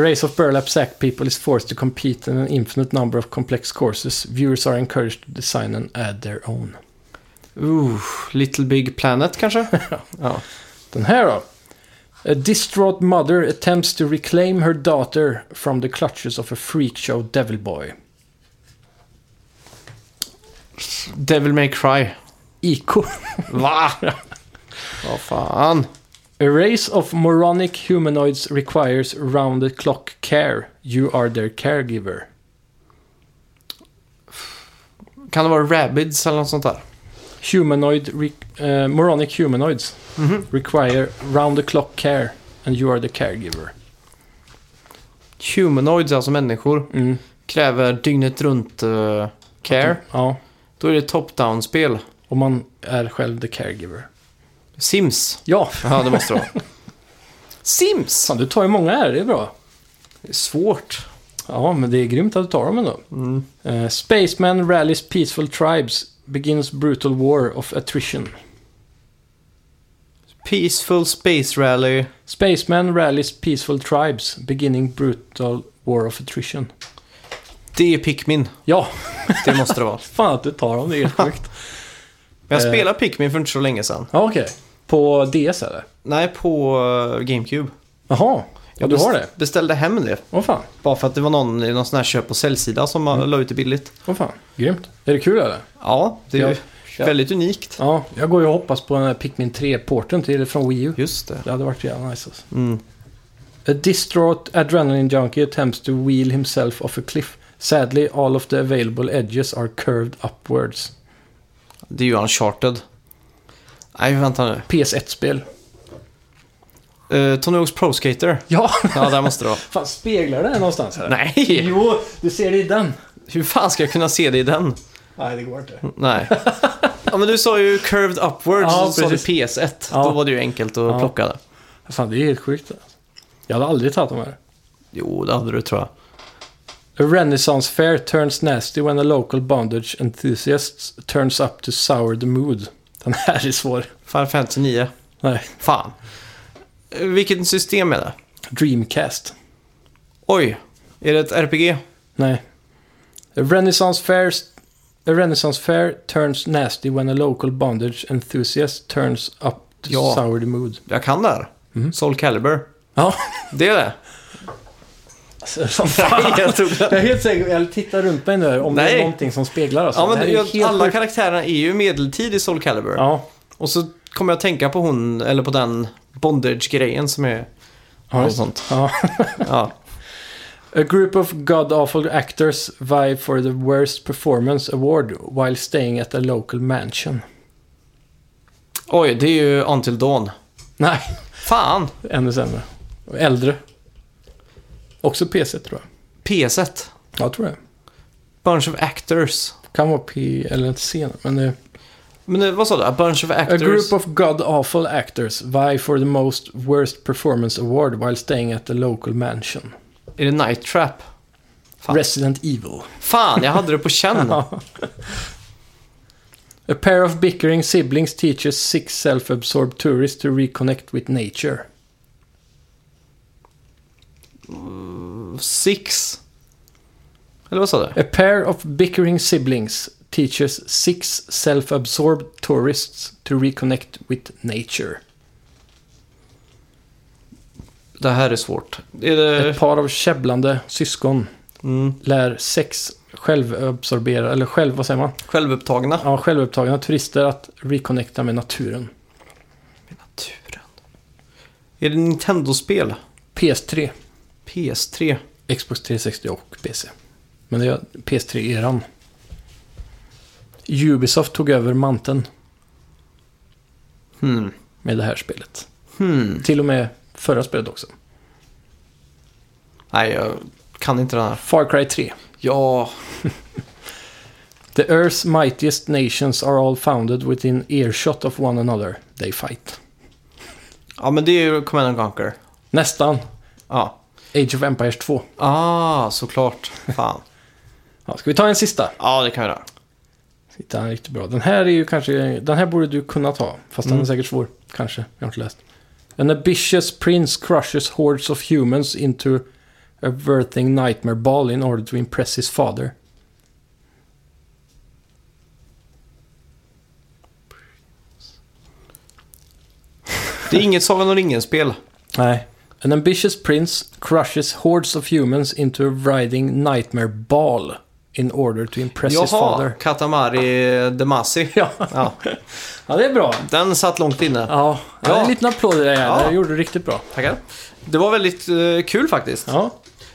Speaker 2: A race of burlap sack people is forced to compete in an infinite number of complex courses. Viewers are encouraged to design and add their own.
Speaker 3: Ooh, Little Big Planet kanske? ja.
Speaker 2: Den här då? A distraught mother attempts to reclaim her daughter from the clutches of a freak show devil boy.
Speaker 3: Devil May Cry.
Speaker 2: IK.
Speaker 3: Va? Vad fan?
Speaker 2: A race of moronic humanoids requires round-the-clock care. You are their caregiver.
Speaker 3: Kan det vara Rabbids eller något sånt där?
Speaker 2: Humanoid... Re- eh, moronic humanoids
Speaker 3: Mhm.
Speaker 2: require round-the-clock care. And you are the caregiver.
Speaker 3: Humanoids, alltså människor,
Speaker 2: Mm.
Speaker 3: kräver dygnet runt eh, care.
Speaker 2: Ja.
Speaker 3: Då är det top-down-spel.
Speaker 2: Och man är själv the caregiver.
Speaker 3: Sims.
Speaker 2: Ja,
Speaker 3: Ja, det måste det vara. Sims!
Speaker 2: fan du tar ju många här, det är bra.
Speaker 3: Det är svårt.
Speaker 2: Ja, men det är grymt att du tar dem ändå.
Speaker 3: Mm.
Speaker 2: Eh, Spaceman rallies peaceful tribes. Begins brutal war of attrition.
Speaker 3: Peaceful Space Rally.
Speaker 2: Spaceman rallies peaceful tribes. Beginning brutal war of attrition.
Speaker 3: Det är Pikmin.
Speaker 2: Ja,
Speaker 3: Det måste det vara.
Speaker 2: fan att du tar dem, det är helt sjukt.
Speaker 3: Men jag
Speaker 2: Eh.
Speaker 3: spelade Pikmin för inte så länge sedan.
Speaker 2: Ja, okej. På DS eller?
Speaker 3: Nej, på eh, GameCube.
Speaker 2: Jaha, ja, du
Speaker 3: best-
Speaker 2: har det?
Speaker 3: beställde hem det.
Speaker 2: Åh fan,
Speaker 3: Bara för att det var någon i någon sån här köp och säljsida som la ut det billigt.
Speaker 2: åh fan. Grymt. Är det kul eller?
Speaker 3: Ja, det är
Speaker 2: Ja.
Speaker 3: ju väldigt unikt.
Speaker 2: Ja, jag går ju och hoppas på den här Pikmin 3-porten till från Wii U.
Speaker 3: Just det.
Speaker 2: Det hade varit jävla nice alltså.
Speaker 3: Mm.
Speaker 2: A distraught adrenaline junkie attempts to wheel himself off a cliff. Sadly, all of the available edges are curved upwards.
Speaker 3: Det är ju uncharted. Nej, vänta nu.
Speaker 2: PS1-spel.
Speaker 3: Uh, Tony Hawk's Pro Skater.
Speaker 2: Ja!
Speaker 3: Ja, där måste det vara.
Speaker 2: Fan, speglar det någonstans här?
Speaker 3: Nej!
Speaker 2: Jo, du ser det i den.
Speaker 3: Hur fan ska jag kunna se det i den?
Speaker 2: Nej, det går inte.
Speaker 3: Nej. Ja, men du sa ju curved upwards
Speaker 2: Ja,
Speaker 3: och så sa du
Speaker 2: precis.
Speaker 3: PS1.
Speaker 2: Ja.
Speaker 3: Då var det ju enkelt att
Speaker 2: Ja.
Speaker 3: plocka det.
Speaker 2: Fan, det är helt sjukt. alltså. Jag hade aldrig tagit de här.
Speaker 3: Jo, det hade du tror jag.
Speaker 2: A renaissance fair turns nasty when a local bondage enthusiast turns up to sour the mood. Den här är svår.
Speaker 3: Final Fantasy 9.
Speaker 2: Nej.
Speaker 3: Fan. Eh, Vilket system är det?
Speaker 2: Dreamcast.
Speaker 3: Oj, är det ett RPG?
Speaker 2: Nej. A renaissance fair... A renaissance fair turns nasty when a local bondage enthusiast turns up to
Speaker 3: Ja.
Speaker 2: sour the mood.
Speaker 3: Jag kan det här.
Speaker 2: Mhm.
Speaker 3: Soul Calibur.
Speaker 2: Ja.
Speaker 3: Det är det.
Speaker 2: Alltså, som fan.
Speaker 3: jag tror det.
Speaker 2: Jag är helt säker, jag tittar runt mig nu om det
Speaker 3: Nej.
Speaker 2: är någonting som speglar oss.
Speaker 3: Ja, men
Speaker 2: Det här är
Speaker 3: jag,
Speaker 2: helt
Speaker 3: alla
Speaker 2: sjukt.
Speaker 3: karaktärerna är ju medeltid i Soul Calibur.
Speaker 2: Ja,
Speaker 3: Och så kommer jag att tänka på hon, eller på den bondage-grejen som är...
Speaker 2: Ja,
Speaker 3: och
Speaker 2: just-
Speaker 3: sånt.
Speaker 2: ja.
Speaker 3: Ja.
Speaker 2: A group of god-awful actors vie for the worst performance award while staying at a local mansion.
Speaker 3: Oj, det är ju Until Dawn.
Speaker 2: Nej,
Speaker 3: Fan!
Speaker 2: ännu sämre. Äldre. Också PC tror jag.
Speaker 3: PS1.
Speaker 2: Jag tror det.
Speaker 3: Bunch of actors.
Speaker 2: Kan vara P eller senare, men det...
Speaker 3: Men eh, vad sa du? A bunch of
Speaker 2: A
Speaker 3: actors?
Speaker 2: group of god-awful actors vie for the most worst performance award while staying at the local mansion.
Speaker 3: Är det Night Trap? Fan.
Speaker 2: Resident Evil.
Speaker 3: Fan, jag hade det på känn.
Speaker 2: A pair of bickering siblings teaches six self-absorbed tourists to reconnect with nature.
Speaker 3: Six. Eller vad sa du?
Speaker 2: A pair of bickering siblings teaches six self-absorbed tourists to reconnect with nature.
Speaker 3: Det här är svårt. Är det...
Speaker 2: Ett par av käbblande syskon
Speaker 3: Eh. Mm,
Speaker 2: lär sex självabsorberade, eller själv, vad säger man?
Speaker 3: självupptagna?
Speaker 2: Ja, självupptagna turister att reconnecta med naturen.
Speaker 3: Naturen. Är det Nintendo-spel?
Speaker 2: PS3,
Speaker 3: PS3?
Speaker 2: Xbox 360 och PC. Men det är PS3-eran. Ubisoft tog över manteln
Speaker 3: Hmm.
Speaker 2: med det här spelet.
Speaker 3: Hmm.
Speaker 2: Till och med förra spelet också.
Speaker 3: Nej, jag kan inte den här.
Speaker 2: Far Cry 3.
Speaker 3: Ja,
Speaker 2: The Earth's mightiest nations are all founded within earshot of one another. They fight.
Speaker 3: ja men det är ju Command and Conquer.
Speaker 2: Nästan.
Speaker 3: Ja.
Speaker 2: Age of Empires 2.
Speaker 3: Ah, såklart. Fan.
Speaker 2: Ja, ska vi ta en sista?
Speaker 3: Ja, det kan vi göra.
Speaker 2: Hitta en Mm. riktigt bra. Den här är ju kanske... Den här borde du kunna ta. Fast den är säkert svår. Kanske. Jag har inte läst. An ambitious prince crushes hordes of humans into a verthing nightmare ball in order to impress his father.
Speaker 3: Det är inget Sagan om ringen-spel.
Speaker 2: Nej. An ambitious prince crushes hordes of humans into a writhing nightmare ball in order to impress his
Speaker 3: Jaha,
Speaker 2: father.
Speaker 3: Katamari Damacy.
Speaker 2: Ja.
Speaker 3: Ja,
Speaker 2: ja, det är bra.
Speaker 3: den satt långt inne.
Speaker 2: Ja, ja.
Speaker 3: Ja.
Speaker 2: en liten applåd i det här.
Speaker 3: Ja.
Speaker 2: Det gjorde du riktigt bra.
Speaker 3: Tackar. Det var väldigt eh, kul faktiskt.
Speaker 2: Ja.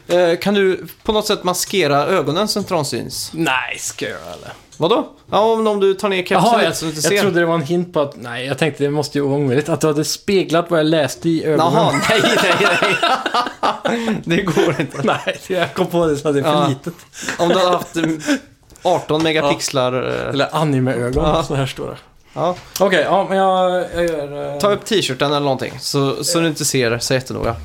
Speaker 3: Eh, kan du på något sätt maskera ögonen så inte de syns?
Speaker 2: Nej, ska jag göra eller?
Speaker 3: Vadå? Ja, om, om du tar ner kepsen
Speaker 2: Jaha,
Speaker 3: lite
Speaker 2: jag,
Speaker 3: så du inte
Speaker 2: jag
Speaker 3: ser.
Speaker 2: trodde det var en hint på att... Nej, jag tänkte det måste ju vara omöjligt. Att du hade speglat vad jag läste i ögonen.
Speaker 3: Jaha, nej, nej, nej. det går inte.
Speaker 2: Nej, jag kom på det så att det är för
Speaker 3: Ja.
Speaker 2: litet.
Speaker 3: Om du hade haft eh, 18 megapixlar. eh,
Speaker 2: Eller anime-ögon,
Speaker 3: Ja.
Speaker 2: så här står det.
Speaker 3: Ja.
Speaker 2: Okej, ja, men jag, jag gör... eh,
Speaker 3: Ta upp t-shirten eller någonting så, så du inte ser så jättenoga.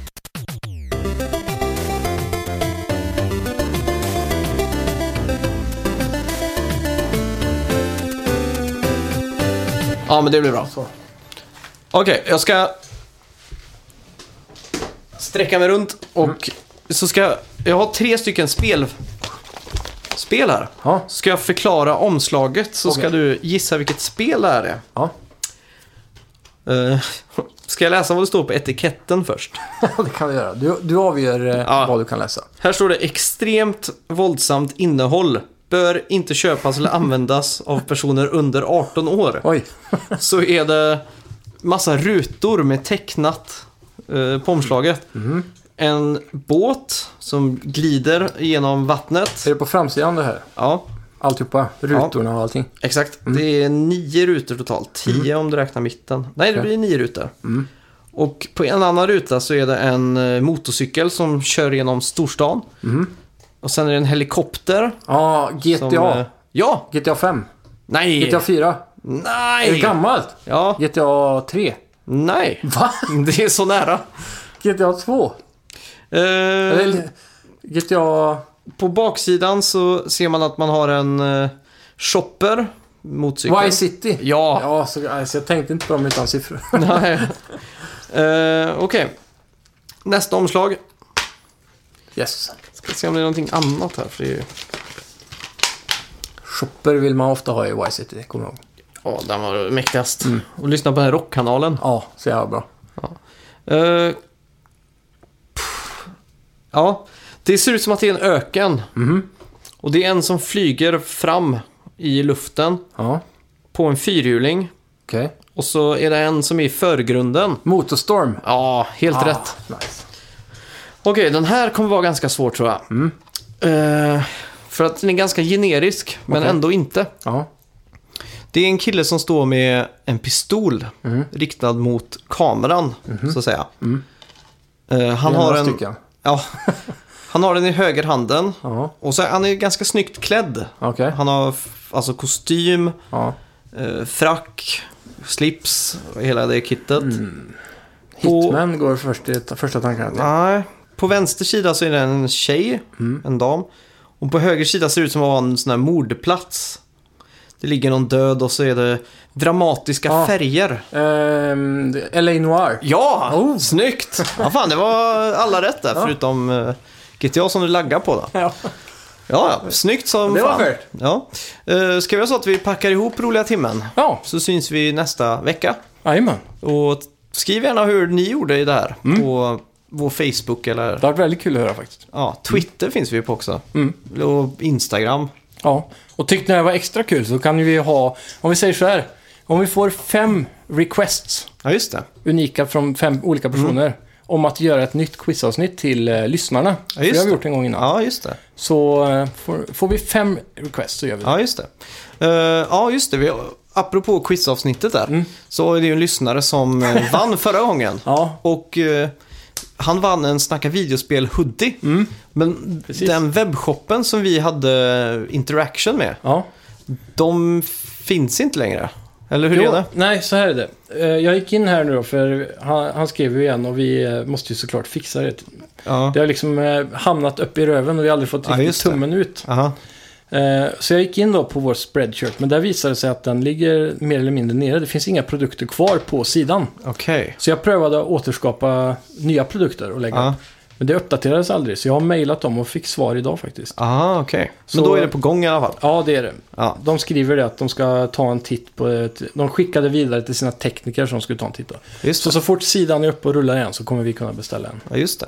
Speaker 3: Ja, men det blir bra.
Speaker 2: Så.
Speaker 3: Okej, jag ska sträcka mig runt och så ska jag... Jag har tre stycken spel, spel här.
Speaker 2: Ja.
Speaker 3: Så ska jag förklara omslaget så ska
Speaker 2: Okej.
Speaker 3: du gissa vilket spel det här är.
Speaker 2: ja.
Speaker 3: Eh, Ska jag läsa vad det står på etiketten först?
Speaker 2: det kan vi göra. Du, du avgör eh,
Speaker 3: Ja.
Speaker 2: vad du kan läsa.
Speaker 3: Här står det extremt våldsamt innehåll. Bör inte köpas eller användas av personer under 18 år.
Speaker 2: Oj.
Speaker 3: Så är det massa rutor med tecknat eh, på omslaget. En båt som glider genom vattnet.
Speaker 2: Är det på framsidan det här?
Speaker 3: Ja,
Speaker 2: Alltihopa? Rutorna och allting?
Speaker 3: exakt.
Speaker 2: Mm.
Speaker 3: Det är nio rutor totalt. Tio om du räknar mitten. Nej, det
Speaker 2: Okej.
Speaker 3: blir nio rutor.
Speaker 2: Mm.
Speaker 3: Och på en annan ruta så är det en eh, motorcykel som kör genom storstan.
Speaker 2: Mhm.
Speaker 3: Och sen är det en helikopter.
Speaker 2: Ja, GTA.
Speaker 3: Som, eh, E. ja!
Speaker 2: GTA 5.
Speaker 3: Nej!
Speaker 2: GTA 4. Är det
Speaker 3: Nej!
Speaker 2: gammalt?
Speaker 3: Ja,
Speaker 2: GTA 3.
Speaker 3: nej.
Speaker 2: Va?
Speaker 3: Det är så nära.
Speaker 2: GTA 2?
Speaker 3: Eh,
Speaker 2: Eller GTA...
Speaker 3: på baksidan så ser man att man har en eh, shopper, motorcykel.
Speaker 2: Vice City?
Speaker 3: Ja.
Speaker 2: Ja, så, alltså, jag tänkte inte på dem utan siffror.
Speaker 3: Nej. Eh, Okej. Nästa omslag.
Speaker 2: Yes.
Speaker 3: Ska se om det är någonting annat här. För det är ju...
Speaker 2: Shopper vill man ofta ha i Vice City, kommer jag ihåg.
Speaker 3: Ja, den var mäktigast. Mm. Och lyssna på den här rockkanalen.
Speaker 2: Ja, så jävla bra.
Speaker 3: Eh, pff. ja, det ser ut som att det är en öken. Och det är en som flyger fram i luften
Speaker 2: Ja,
Speaker 3: på en fyrhjuling.
Speaker 2: okej.
Speaker 3: Och så är det en som är i förgrunden.
Speaker 2: Motorstorm.
Speaker 3: Ja, helt
Speaker 2: Ah,
Speaker 3: rätt.
Speaker 2: Nice.
Speaker 3: Okej, den här kommer vara ganska svår tror jag. Eh, för att den är ganska generisk, men
Speaker 2: Okej.
Speaker 3: ändå inte.
Speaker 2: Ja,
Speaker 3: Det är en kille som står med en pistol
Speaker 2: Mhm.
Speaker 3: riktad mot kameran, så att säga. Eh, han,
Speaker 2: Mm. det är
Speaker 3: har
Speaker 2: några
Speaker 3: en,
Speaker 2: stycken.
Speaker 3: ja, han har den i högerhanden.
Speaker 2: Ja,
Speaker 3: Och så, han är ganska snyggt klädd.
Speaker 2: okej.
Speaker 3: Han har f- alltså kostym,
Speaker 2: Ja.
Speaker 3: eh, frack, slips, hela det kittet.
Speaker 2: Mm.
Speaker 3: På-
Speaker 2: Hitman går först i första tankarna. till.
Speaker 3: Nej. På vänster sida så är det en tjej,
Speaker 2: Mm.
Speaker 3: en dam. Och på höger sida ser det ut som att vara en sån här mordplats. Det ligger någon död och så är det dramatiska
Speaker 2: Ja.
Speaker 3: färger.
Speaker 2: Ehm, det- LA Noir.
Speaker 3: Ja!
Speaker 2: Oh.
Speaker 3: Snyggt! Ja, fan, det var alla rätt där
Speaker 2: Ja.
Speaker 3: förutom eh, GTA som du laggar på. Då.
Speaker 2: Ja.
Speaker 3: Ja, ja. Snyggt som
Speaker 2: Det var
Speaker 3: fan.
Speaker 2: fair.
Speaker 3: Ja. Eh, Ska vi göra så att vi packar ihop roliga timmen?
Speaker 2: Ja,
Speaker 3: Så syns vi nästa vecka.
Speaker 2: jajamän.
Speaker 3: Och skriv gärna hur ni gjorde i det här
Speaker 2: Mm.
Speaker 3: på vår Facebook eller
Speaker 2: Det har varit väldigt kul att höra faktiskt.
Speaker 3: Ja, Twitter finns vi på också.
Speaker 2: Mm.
Speaker 3: Och Instagram.
Speaker 2: Ja, och tyckte ni det här var extra kul så kan ju vi ha, om vi säger så här, om vi får fem requests,
Speaker 3: Ja, just det.
Speaker 2: unika från fem olika
Speaker 3: Mm.
Speaker 2: personer, om att göra ett nytt quizavsnitt till eh, lyssnarna. För det
Speaker 3: just
Speaker 2: har vi
Speaker 3: det.
Speaker 2: gjort en gång innan.
Speaker 3: Ja, just det.
Speaker 2: Så eh, får, får vi fem requests så gör vi det.
Speaker 3: Ja, just det. Eh, ja, just det. Vi, apropå quizavsnittet där,
Speaker 2: Mm.
Speaker 3: så är det ju en lyssnare som eh, vann förra gången.
Speaker 2: Ja.
Speaker 3: Och eh, han vann en Snacka videospel hoodie. Men
Speaker 2: Precis.
Speaker 3: den webbshoppen som vi hade interaction med,
Speaker 2: ja.
Speaker 3: de finns inte längre. Eller hur är det?
Speaker 2: Nej, så här är det. Eh, Jag gick in här nu då, för han, han skrev ju igen och vi eh, måste ju såklart fixa det.
Speaker 3: Ja.
Speaker 2: Det har liksom eh, hamnat upp i röven och vi har aldrig fått
Speaker 3: Ja,
Speaker 2: riktigt
Speaker 3: just det.
Speaker 2: tummen ut.
Speaker 3: Aha.
Speaker 2: Eh, Så jag gick in då på vår spreadshirt, men där visade det sig att den ligger mer eller mindre nere. Det finns inga produkter kvar på sidan.
Speaker 3: Okej.
Speaker 2: Så jag prövade att återskapa nya produkter och lägga
Speaker 3: Ja.
Speaker 2: upp. Men det uppdaterades aldrig, så jag har mejlat dem och fick svar idag faktiskt.
Speaker 3: Ah, okej.
Speaker 2: Så-
Speaker 3: Men då är det på gång i alla fall.
Speaker 2: Ja, det är det.
Speaker 3: Ja.
Speaker 2: De skriver det att de ska ta en titt på... Ett, de skickade vidare till sina tekniker som skulle ta en titt då.
Speaker 3: Just
Speaker 2: Så,
Speaker 3: det.
Speaker 2: så fort sidan är uppe och rullar igen så kommer vi kunna beställa en.
Speaker 3: Ja, just det.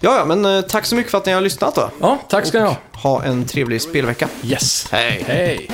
Speaker 3: Ja, ja, men eh, tack så mycket för att ni har lyssnat då.
Speaker 2: Ja, tack ska ni ha.
Speaker 3: Ha en trevlig spelvecka.
Speaker 2: Yes.
Speaker 3: Hej.
Speaker 2: Hej.